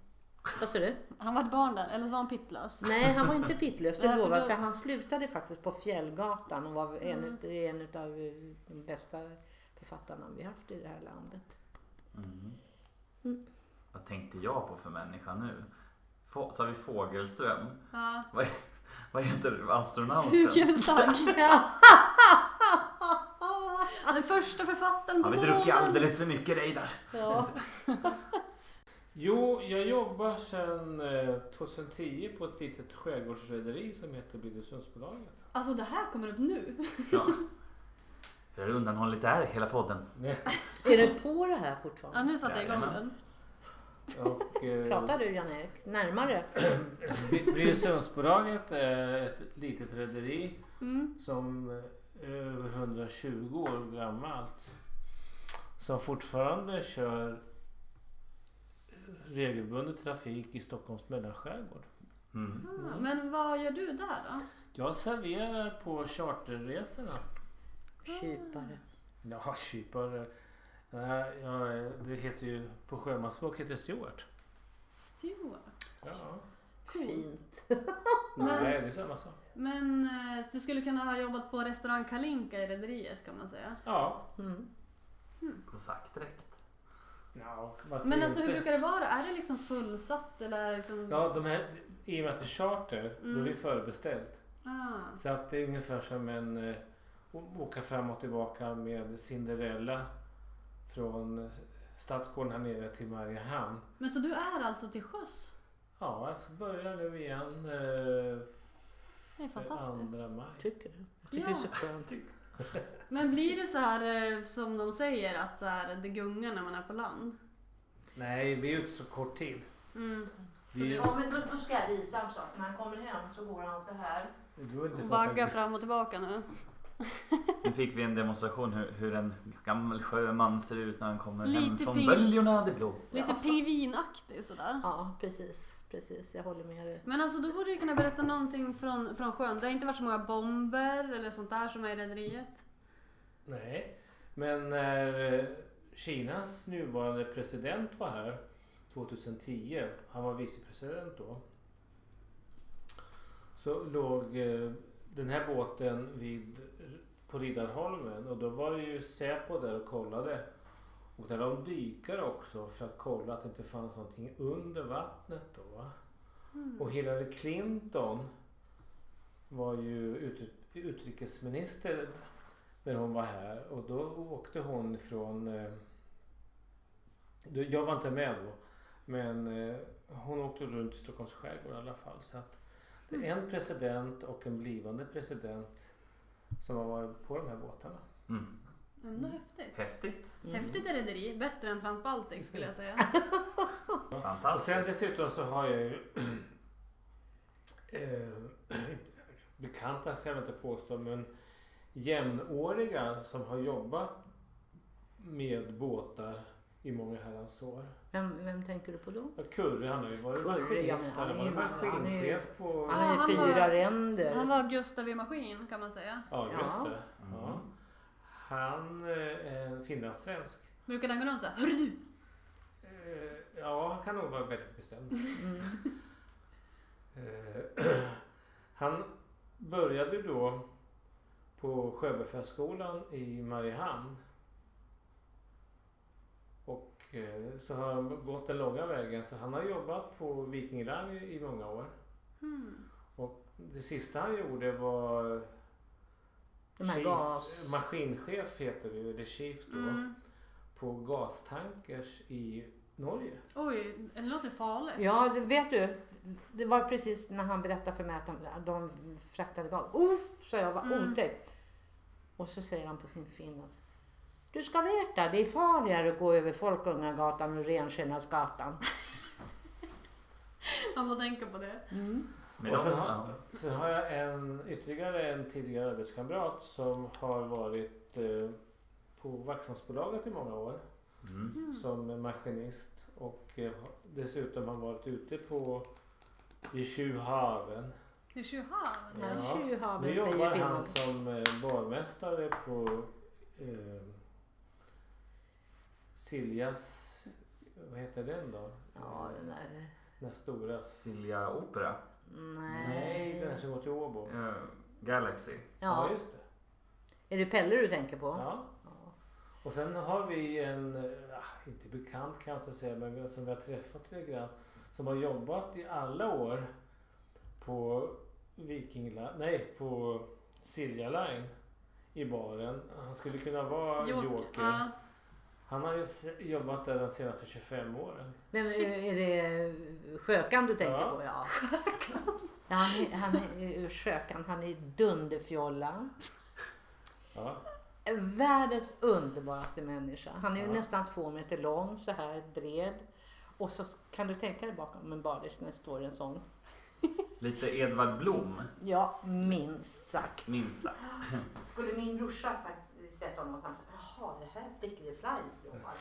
Speaker 3: Vad sa du?
Speaker 2: Han var ett barn där, eller så var han pittlös.
Speaker 3: Nej, han var inte pittlös,
Speaker 2: Nej,
Speaker 3: det
Speaker 2: för
Speaker 3: lovar
Speaker 2: då- Mm.
Speaker 3: jag, för han slutade faktiskt på Fjällgatan och var en, ut- en av de bästa författarna vi haft i det här landet.
Speaker 1: Mm.
Speaker 3: Mm.
Speaker 1: Vad tänkte jag på för människa nu? Få, sa vi Fågelström?
Speaker 2: Ja.
Speaker 1: Vad heter astronauten?
Speaker 2: Fugelsang.
Speaker 3: (laughs) Ja.
Speaker 2: Alltså, Den första författaren på
Speaker 1: Har vi druckit
Speaker 2: månen.
Speaker 1: alldeles för mycket Reidar?
Speaker 3: ja.
Speaker 4: Jo, jag jobbar sedan eh, 2010 på ett litet skärgårdsrederi som heter Billundsundsbolaget.
Speaker 2: Alltså det här kommer upp nu.
Speaker 1: Ja. Hur har undanhållit det här hela podden?
Speaker 4: Nej,
Speaker 3: Är du på det här
Speaker 2: Ja,
Speaker 3: fortfarande?
Speaker 2: nu satte jag igång
Speaker 1: Jajamän.
Speaker 2: den.
Speaker 4: Och, eh,
Speaker 3: Pratar du Jan-Erik? Närmare?
Speaker 4: Billundsundsbolaget är ett litet rederi
Speaker 2: Mm.
Speaker 4: som är över 120 år gammalt. Som fortfarande kör regelbundet trafik i Stockholms mellanskärgård.
Speaker 1: Mm.
Speaker 2: Ah, Men vad gör du där då?
Speaker 4: Jag serverar på charterresorna.
Speaker 3: Kypare.
Speaker 4: Ja, kypare. Nej, jag- Det heter ju, på sjömansspråk heter det steward.
Speaker 2: Stuart.
Speaker 4: Ja.
Speaker 2: Ah,
Speaker 3: Fint.
Speaker 4: Nej, det är samma sak.
Speaker 2: Men eh, du skulle kunna ha jobbat på restaurang Kalinka i Rederiet kan man säga.
Speaker 4: Ja.
Speaker 3: Mm.
Speaker 1: Kosackdräkt.
Speaker 4: ja varför
Speaker 2: Men alltså hur
Speaker 4: inte?
Speaker 2: brukar det vara? Är det liksom fullsatt eller är det liksom...
Speaker 4: Ja, de här, i och med att det är charter, då är det
Speaker 2: Mm.
Speaker 4: ju förbeställt.
Speaker 2: Ah.
Speaker 4: Så att det är ungefär som en eh, å- åka fram och tillbaka med Cinderella från eh, Stadsgården här nere till Mariehamn.
Speaker 2: Men så du är alltså till sjöss?
Speaker 4: Ja, jag ska börja nu igen eh,
Speaker 2: Det är fantastiskt. Typ.
Speaker 4: 2 maj.
Speaker 3: Tycker du? Jag Tycker det är så skönt.
Speaker 2: Men blir det så här eh, som de säger att så här, det gungar när man är på land?
Speaker 4: Nej, vi är ute så kort tid.
Speaker 2: Mm. Så
Speaker 4: Vi,
Speaker 2: det-
Speaker 3: men då, då ska jag visa en sak. När han kommer hem så går han så här.
Speaker 4: du har inte
Speaker 2: Vagga
Speaker 4: pratat,
Speaker 2: fram och tillbaka nu.
Speaker 1: Nu fick vi en demonstration hur, hur en gammal sjöman ser ut när han kommer hem
Speaker 2: Lite
Speaker 1: från
Speaker 2: ping-
Speaker 1: böljorna det blå.
Speaker 2: Lite pingvinaktig sådär.
Speaker 3: Ja, precis. Precis, jag håller med dig.
Speaker 2: Men alltså då borde du kunna berätta någonting från, från sjön. Det har inte varit så många bomber eller sånt där som är i rederiet.
Speaker 4: nej, men när eh, Kinas nuvarande president var här 2010, han var vicepresident då. Så låg eh, den här båten vid, på Riddarholmen och då var det ju Säpo där och kollade. Och där de dykare också för att kolla att det inte fanns någonting under vattnet då. va.
Speaker 2: Hmm.
Speaker 4: Och Hillary Clinton var ju utri- utrikesminister när hon var här och då åkte hon från... eh, då- Jag var inte med då. Men eh, hon åkte runt i Stockholms skärgård i alla fall. Så att det är en president och en blivande president som har varit på de här båtarna.
Speaker 1: Mm.
Speaker 2: Ändå häftigt.
Speaker 1: Häftigt.
Speaker 4: Mm.
Speaker 2: Häftigt är rederi. Bättre än Transbaltic skulle jag
Speaker 4: (laughs)
Speaker 2: säga.
Speaker 4: Och Alltså, sen
Speaker 1: Fantastiskt.
Speaker 4: dessutom så har jag ju (clears throat) eh, (clears throat) bekanta ska jag väl inte påstå men jämnåriga som har jobbat med båtar i många herrans år.
Speaker 3: Vem, vem tänker du på då?
Speaker 4: Ja, Kurre han har ju varit
Speaker 3: Kurre, ja, men
Speaker 4: maskinist. Han
Speaker 3: han är ju- han
Speaker 4: har varit
Speaker 3: är ju-
Speaker 4: maskinchef på...
Speaker 3: Han har ju
Speaker 2: han var-
Speaker 3: fyra ränder.
Speaker 2: Han var Gustav i Maskin kan man säga.
Speaker 4: Ja just
Speaker 3: Ja.
Speaker 4: det. Ja. Han eh, är en finlandssvensk.
Speaker 2: Brukar den gå runt såhär Hörru du!
Speaker 4: Eh, Ja, han kan nog vara väldigt bestämd.
Speaker 3: Mm.
Speaker 4: Eh, (clears throat) Han började då på Sjöbefälsskolan i Mariehamn. Och eh, så har han gått den långa vägen. Så han har jobbat på Viking Line i i många år.
Speaker 2: Hmm.
Speaker 4: Det sista han gjorde var
Speaker 3: De här
Speaker 4: chief-
Speaker 3: gas...
Speaker 4: maskinchef heter det ju, eller chief då,
Speaker 2: Mm.
Speaker 4: på gastankers i Norge.
Speaker 2: Oj, det låter farligt.
Speaker 3: Ja, det vet du. Det var precis när han berättade för mig att de, de fraktade gas. Uff, sa jag, vad
Speaker 2: Mm.
Speaker 3: otäckt. Och så säger han på sin finna. Du ska veta, det är farligare att gå över Folkungagatan och Renskinnasgatan.
Speaker 2: Man får tänka på det.
Speaker 1: Men
Speaker 4: Och
Speaker 1: de,
Speaker 4: sen, har,
Speaker 1: ja.
Speaker 4: sen har jag en, ytterligare en tidigare arbetskamrat som har varit eh, på Waxholmsbolaget i många år
Speaker 1: mm.
Speaker 4: som maskinist och eh, har- dessutom har varit ute på i Tjuhaven.
Speaker 2: Det är Tjuhaven.
Speaker 3: Ja,
Speaker 4: Ja,
Speaker 3: Tjuhaven
Speaker 4: Nu
Speaker 3: säger
Speaker 4: jobbar
Speaker 3: finnen.
Speaker 4: han som eh, barmästare på eh, Siljas, vad heter den då?
Speaker 3: Ja, den där...
Speaker 4: Den stora.
Speaker 1: Silja Opera.
Speaker 3: Nej.
Speaker 4: Nej, den som går till Åbo. Ja,
Speaker 1: Eh, Galaxy.
Speaker 3: Ja.
Speaker 4: just det.
Speaker 3: Är det Pelle du tänker på?
Speaker 4: Ja.
Speaker 3: Ja.
Speaker 4: Och ah, sen har vi en, eh, inte bekant kan jag inte säga, men som vi har träffat lite grann. Som har jobbat i alla år på Viking Line, nej på Silja Line i baren. Han skulle kunna vara joker.
Speaker 2: Ja.
Speaker 4: Han har ju se- jobbat där de senaste 25 åren.
Speaker 3: Men
Speaker 2: Shit.
Speaker 3: är det Sjökan du tänker
Speaker 4: Ja.
Speaker 3: på? Ja. ja han, är, han är Sjökan, han är dunderfjolla.
Speaker 4: Ja.
Speaker 3: Världens underbaraste människa. Han är ju
Speaker 4: Ja.
Speaker 3: nästan två meter lång, så här bred. Och så kan du tänka dig bakom en bardis när det står en sån.
Speaker 1: Lite Edvard Blom,
Speaker 3: Ja, minst sagt.
Speaker 1: minst sagt.
Speaker 3: Skulle min brorsa sagt, sett honom och sagt jaha, det här flickor i Flajs jobbar.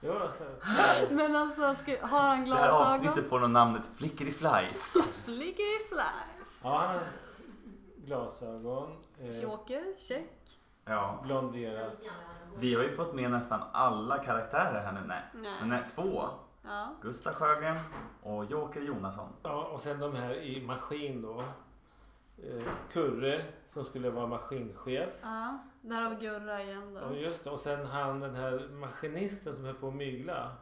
Speaker 4: Det var så här,
Speaker 2: Men alltså, ska, har han
Speaker 1: Det här
Speaker 2: glasögon?
Speaker 1: avsnittet får nog namnet Flickor i Flies.
Speaker 2: Flickor i flies.
Speaker 4: ja, han har glasögon, eh,
Speaker 2: Joker, check.
Speaker 1: Ja.
Speaker 4: blonderat.
Speaker 1: Vi har ju fått med nästan alla karaktärer här nu. Nej.
Speaker 2: Nej.
Speaker 1: Men Nej, två.
Speaker 2: Ja.
Speaker 1: Gustav Sjögren och Joker Jonasson.
Speaker 4: Ja, och sen de här i maskin då. Eh, Kurre som skulle vara maskinchef.
Speaker 2: ja. Där har vi Gurra igen
Speaker 4: Ja,
Speaker 2: då.
Speaker 4: just det. Och sen han den här maskinisten som höll på att mygla.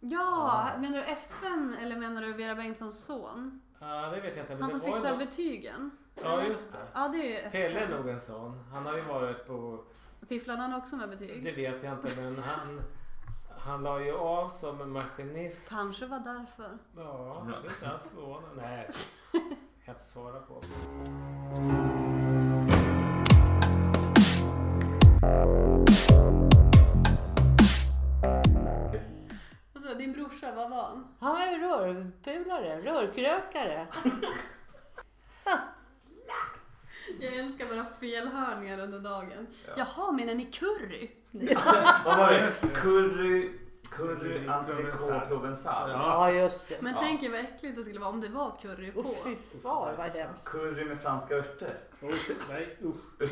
Speaker 2: Ja, menar du FN eller menar du Vera Bengtssons son?
Speaker 4: Ja, det vet jag inte. Men
Speaker 2: Han
Speaker 4: det
Speaker 2: som
Speaker 4: var
Speaker 2: fixar
Speaker 4: ju
Speaker 2: betygen.
Speaker 4: någon- Ja, just det.
Speaker 2: Ja, det är ju FN.
Speaker 4: Pelle är nog en sån. Han har ju varit på...
Speaker 2: Fifflade han också med betyg?
Speaker 4: Det vet jag inte, men han... Han la ju av som en maskinist.
Speaker 2: Kanske var därför.
Speaker 4: Ja, sluta alls förvåna. Nej, jag kan inte svara på.
Speaker 2: Alltså, din brorsa, vad var han?
Speaker 3: Han var ju rörpulare, rörkrökare.
Speaker 2: Jag älskar bara felhörningar under dagen. Jaha, menar ni curry?
Speaker 1: Vad var det? Curry, curry,
Speaker 4: Curry,
Speaker 1: entrecote,
Speaker 4: provençal.
Speaker 1: provençal.
Speaker 4: Ja.
Speaker 3: Ja, just det.
Speaker 2: Men
Speaker 1: Ja.
Speaker 2: tänk er vad äckligt det skulle vara om det var curry på.
Speaker 3: Och fy far vad hemskt.
Speaker 1: Curry med franska örter.
Speaker 4: Usch, Nej, usch.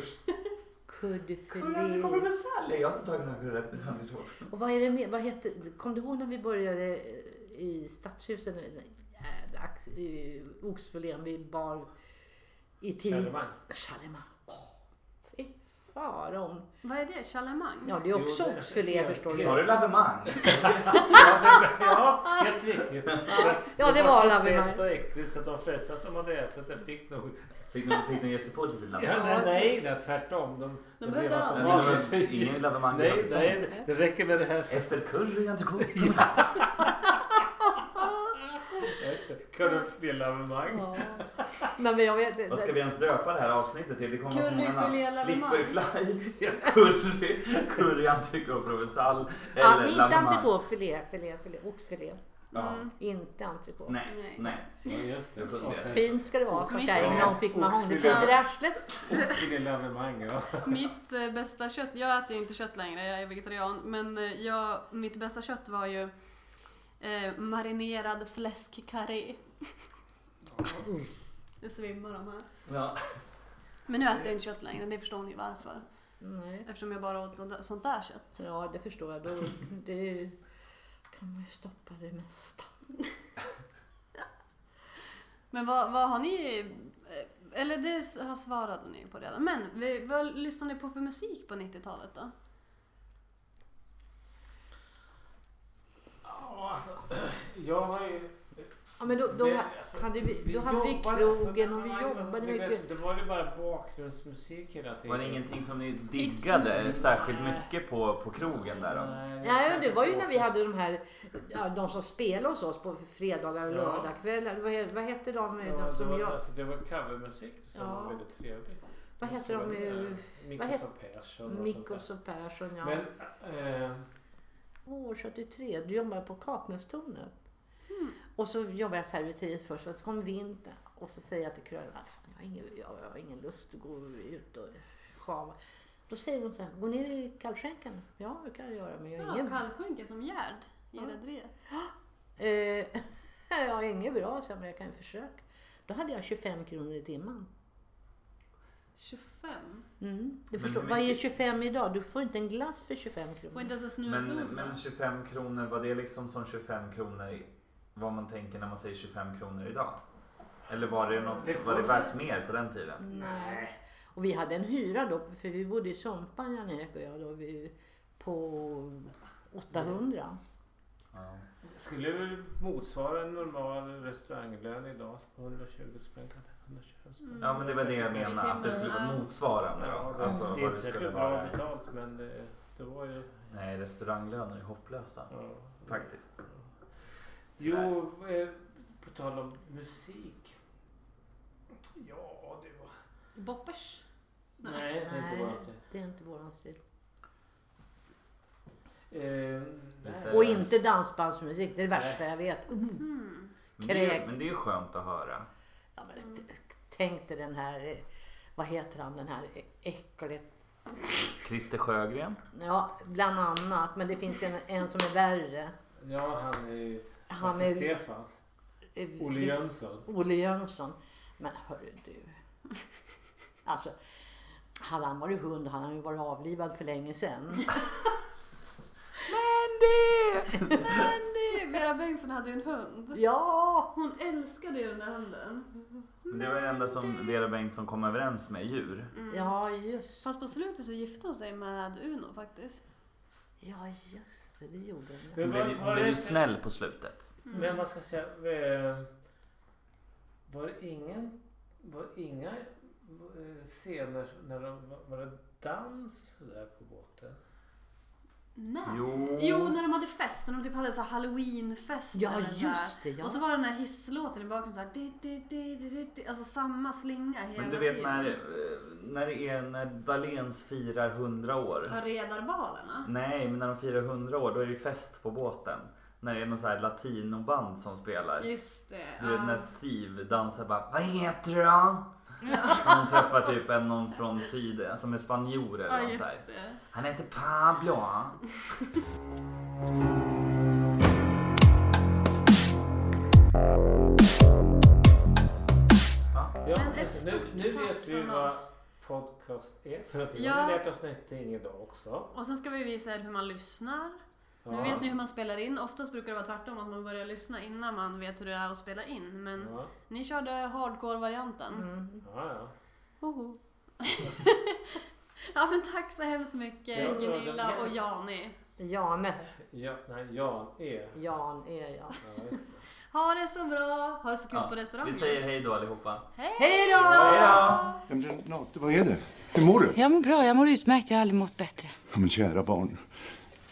Speaker 1: Curry, entrecote,
Speaker 3: Kuddefilé.
Speaker 1: provençal. Jag har inte tagit några curry med entrecote.
Speaker 3: Och vad är det med, vad heter, kom du ihåg när vi började eh, i Stadshuset? Den Jävla ax- eh, oxfilén vi bar i tid.
Speaker 4: Evenemang.
Speaker 3: Charlemang. Åh, Fy faron.
Speaker 2: Vad är det? Chalemang? Mm.
Speaker 3: Ja, det är också
Speaker 4: Jo, det-
Speaker 3: oxfilé förstår
Speaker 1: Sa
Speaker 3: du.
Speaker 1: du lavemang? (laughs)
Speaker 4: Ja, helt riktigt.
Speaker 3: Ja, det var
Speaker 4: så
Speaker 3: lavemang.
Speaker 4: fett och äckligt så att de flesta som hade ätit det fick nog...
Speaker 1: Fick nog fick nog ge sig på ett litet
Speaker 4: Ja,
Speaker 1: lavemang.
Speaker 4: nej, nej, nej, tvärtom. De,
Speaker 2: De
Speaker 4: det
Speaker 2: behövde
Speaker 4: blev att
Speaker 2: aldrig.
Speaker 4: var-
Speaker 1: Ingen- Ingen lavemang.
Speaker 4: Nej, nej, det räcker med det här.
Speaker 1: Efter curry, entrecote,
Speaker 4: (laughs)
Speaker 1: provençal.
Speaker 4: Kan du fler lavemang?
Speaker 3: Ja. Men jag vet,
Speaker 1: Vad ska vi ens döpa det här avsnittet till? Det kommer vara så
Speaker 2: Curry,
Speaker 1: många
Speaker 2: filé,
Speaker 1: namn.
Speaker 2: lavemang.
Speaker 1: Flickor i flies, (laughs) curry, curry, entrecote, provençal
Speaker 3: Ja,
Speaker 1: eller
Speaker 3: inte
Speaker 1: lavemang.
Speaker 3: entrecote, filé, filé, filé, oxfilé.
Speaker 1: Ja.
Speaker 3: Inte entrecote.
Speaker 1: Nej,
Speaker 2: Nej.
Speaker 1: nej.
Speaker 4: Ja, just
Speaker 1: Jag kunde
Speaker 4: Och
Speaker 1: det.
Speaker 4: sen-
Speaker 3: Fint ska det vara, sa kärringen när hon fick
Speaker 4: Oxfilé.
Speaker 3: mahognyfis i arslet.
Speaker 4: Oxfilé lavemang, ja.
Speaker 2: Mitt eh, bästa kött, jag äter ju inte kött längre, jag är vegetarian, men eh, jag, mitt bästa kött var ju eh, marinerad fläskkarré. Det svimmar de här.
Speaker 1: Ja.
Speaker 2: Men nu äter jag inte kött längre, det förstår ni ju varför.
Speaker 3: Nej.
Speaker 2: Eftersom jag bara åt sånt där- sånt där kött.
Speaker 3: Ja, det förstår jag. Då, det är ju- kan man ju stoppa det mesta.
Speaker 2: Men vad, vad har ni... eh, Eller det s- har svarade ni på redan. Men vi, vad lyssnar ni på för musik på 90-talet då?
Speaker 4: Ja, alltså, jag har ju...
Speaker 3: Ja, men då, då
Speaker 4: det-
Speaker 3: ha-
Speaker 4: alltså,
Speaker 3: hade vi,
Speaker 4: vi
Speaker 3: då hade vi
Speaker 4: jobbade,
Speaker 3: krogen
Speaker 4: alltså,
Speaker 3: och vi
Speaker 4: nej, alltså,
Speaker 3: jobbade
Speaker 4: det-
Speaker 3: mycket.
Speaker 4: Det var ju bara bakgrundsmusik hela tiden.
Speaker 1: Var det ingenting som ni diggade
Speaker 2: Hissmusik.
Speaker 1: särskilt mycket på, på krogen där då?
Speaker 4: Nej,
Speaker 3: Nej, men det var ju när vi hade de här, ja, de som spelade hos oss på fredagar och
Speaker 4: Ja.
Speaker 3: lördagskvällar. Vad, he- vad hette de,
Speaker 4: Ja,
Speaker 3: de
Speaker 4: det,
Speaker 3: som
Speaker 4: var,
Speaker 3: jag,
Speaker 4: alltså, det var covermusik som
Speaker 3: Ja.
Speaker 4: var väldigt trevligt.
Speaker 3: vad hette de? eh, vad
Speaker 4: Mikos
Speaker 3: hette-
Speaker 4: och Persson och sånt
Speaker 3: Mikkos och Persson,
Speaker 4: där.
Speaker 3: ja.
Speaker 4: Men, eh,
Speaker 3: år 73, du jobbade på Kaknästornet. Och så jobbade jag servitris först, och så kom vintern. Och så säger jag till krögaren, "Ah, fan, jag, har ingen- jag har ingen lust att gå ut och sjava. Då säger hon så här, gå ner i kallskänkan. Ja, det kan jag göra, men jag är
Speaker 2: Ja,
Speaker 3: ingen,
Speaker 2: kallskänke som Gerd i
Speaker 3: Ja.
Speaker 2: Rederiet.
Speaker 3: (laughs) eh, jag är ingen bra, så jag, men jag kan ju försöka. Då hade jag 25 kronor i timmen.
Speaker 2: 25.
Speaker 3: Mm. Du
Speaker 1: Men
Speaker 3: förstår,
Speaker 1: hur
Speaker 3: vad är
Speaker 1: mycket-
Speaker 3: 25 idag? Du får inte en glass för 25
Speaker 2: Och
Speaker 3: kronor.
Speaker 2: inte ens en
Speaker 1: Men,
Speaker 2: snusdosa.
Speaker 1: men 25 kronor, var det liksom som 25 kronor i- vad man tänker när man säger 25 kronor idag? Eller var det, något, var det värt mer på den tiden?
Speaker 3: Nej. Och vi hade en hyra då, för vi bodde i Sumpan, Jan-Erik och jag, då, vi, på 800.
Speaker 1: Ja. Ja.
Speaker 4: Skulle väl motsvara en normal restauranglön idag på 120 spänn kanske. 125 spänn.
Speaker 2: Mm.
Speaker 1: ja men det var det jag
Speaker 4: Mm.
Speaker 1: menade. Att det skulle vara motsvarande
Speaker 4: Ja,
Speaker 1: då.
Speaker 4: det,
Speaker 1: Alltså
Speaker 4: det är
Speaker 1: vad det
Speaker 4: inte
Speaker 1: skulle
Speaker 4: särskilt bra
Speaker 1: vara.
Speaker 4: betalt men det, det var ju...
Speaker 1: Nej restauranglöner är hopplösa.
Speaker 4: Ja.
Speaker 1: Faktiskt.
Speaker 4: Jo, eh, på tal om musik. Ja, det var...
Speaker 2: Boppers. Nej.
Speaker 4: Nej, det är inte
Speaker 3: Nej.
Speaker 4: våran stil.
Speaker 3: Det är inte våran stil.
Speaker 4: Eh,
Speaker 1: Lite-
Speaker 4: nej.
Speaker 3: Och inte dansbandsmusik, det är det värsta jag vet. Uh,
Speaker 2: Mm.
Speaker 1: Men det, är-
Speaker 3: Kräk.
Speaker 1: men det är skönt att höra.
Speaker 3: Ja, men t- tänk dig den här, eh, vad heter han, den här äcklet.
Speaker 1: Christer Sjögren.
Speaker 3: Ja, bland annat. Men det finns en, en som är värre.
Speaker 4: Ja, han är ju...
Speaker 3: Han
Speaker 4: Lasse
Speaker 3: är...
Speaker 4: Alltså, Stefans.
Speaker 3: eh,
Speaker 4: Olle Jönsson.
Speaker 3: Olle Jönsson. Men hörru du. Alltså, hade han varit hund hade han ju varit avlivad för länge sedan. Mandy!
Speaker 2: Mandy! Vera Bengtsson hade ju en hund.
Speaker 3: Ja!
Speaker 2: Hon älskade ju den där hunden.
Speaker 1: Men det var det enda som Vera Bengtsson kom överens med djur.
Speaker 3: Ja, just
Speaker 2: Mm. Fast på slutet så gifte hon sig med Uno faktiskt.
Speaker 3: Ja, just det. Det gjorde han. ja.
Speaker 1: Hon
Speaker 4: Men
Speaker 1: blev,
Speaker 4: var,
Speaker 1: ju-
Speaker 4: var
Speaker 1: hon blev ju
Speaker 4: det,
Speaker 1: snäll på slutet.
Speaker 4: men vad ska jag säga? eh, Var det ingen... Var det inga eh, scener när de... Var det dans och sådär på båten?
Speaker 2: Nej.
Speaker 1: Jo.
Speaker 2: Jo, när de hade fest. När de typ hade så här halloweenfest.
Speaker 3: Ja,
Speaker 2: eller så här.
Speaker 3: just det. Ja.
Speaker 2: Och så var det den här hisslåten i bakgrunden så här, di, di, di, di, di, di. Alltså samma slinga hela
Speaker 1: Men du vet
Speaker 2: tiden.
Speaker 1: när, eh, när det är när Dahléns firar 100 år.
Speaker 2: Ja, redarbalerna.
Speaker 1: Nej, men när de firar 100 år då är det ju fest på båten. När det är någon så här latinoband som spelar.
Speaker 2: Just det.
Speaker 1: Du vet
Speaker 2: ja.
Speaker 1: när Siv dansar bara Vad heter du då? Hon träffar typ en någon från sidan som är spanjor eller
Speaker 2: Ja,
Speaker 1: något så här.
Speaker 2: just det.
Speaker 1: Han heter Pablo.
Speaker 4: Ja,
Speaker 2: Men ett
Speaker 4: alltså, nu,
Speaker 2: stort
Speaker 4: nu
Speaker 2: tack
Speaker 4: vet vi
Speaker 2: från
Speaker 4: vad
Speaker 2: oss.
Speaker 4: podcast är för någonting.
Speaker 2: Ja.
Speaker 4: Ja. Vi har lärt oss någonting idag också.
Speaker 2: Och sen ska vi visa er hur man lyssnar.
Speaker 4: Ja.
Speaker 2: Nu vet ni hur man spelar in. Oftast brukar det vara tvärtom, att man börjar lyssna innan man vet hur det är att spela in. Men
Speaker 4: Ja,
Speaker 2: ni körde hardcore-varianten.
Speaker 3: Mm.
Speaker 4: ja, ja.
Speaker 2: Hoho. (laughs) ja men tack så hemskt mycket
Speaker 4: Ja, ja,
Speaker 2: Gunilla
Speaker 4: ja.
Speaker 2: och Jani.
Speaker 3: Jane.
Speaker 4: ja nej, Jan E. är...
Speaker 3: Jan är jag.
Speaker 4: Ja, just det.
Speaker 2: Ha det så bra! Ha det så kul
Speaker 1: Ja,
Speaker 2: på restaurangen.
Speaker 1: Vi säger hej då allihopa.
Speaker 2: Hej!
Speaker 3: Hej då!
Speaker 1: Hej då!
Speaker 5: Ja, men Renate, vad är det? Hur mår du?
Speaker 6: Jag mår bra, jag mår utmärkt. Jag har aldrig mått bättre.
Speaker 5: Ja, men kära barn,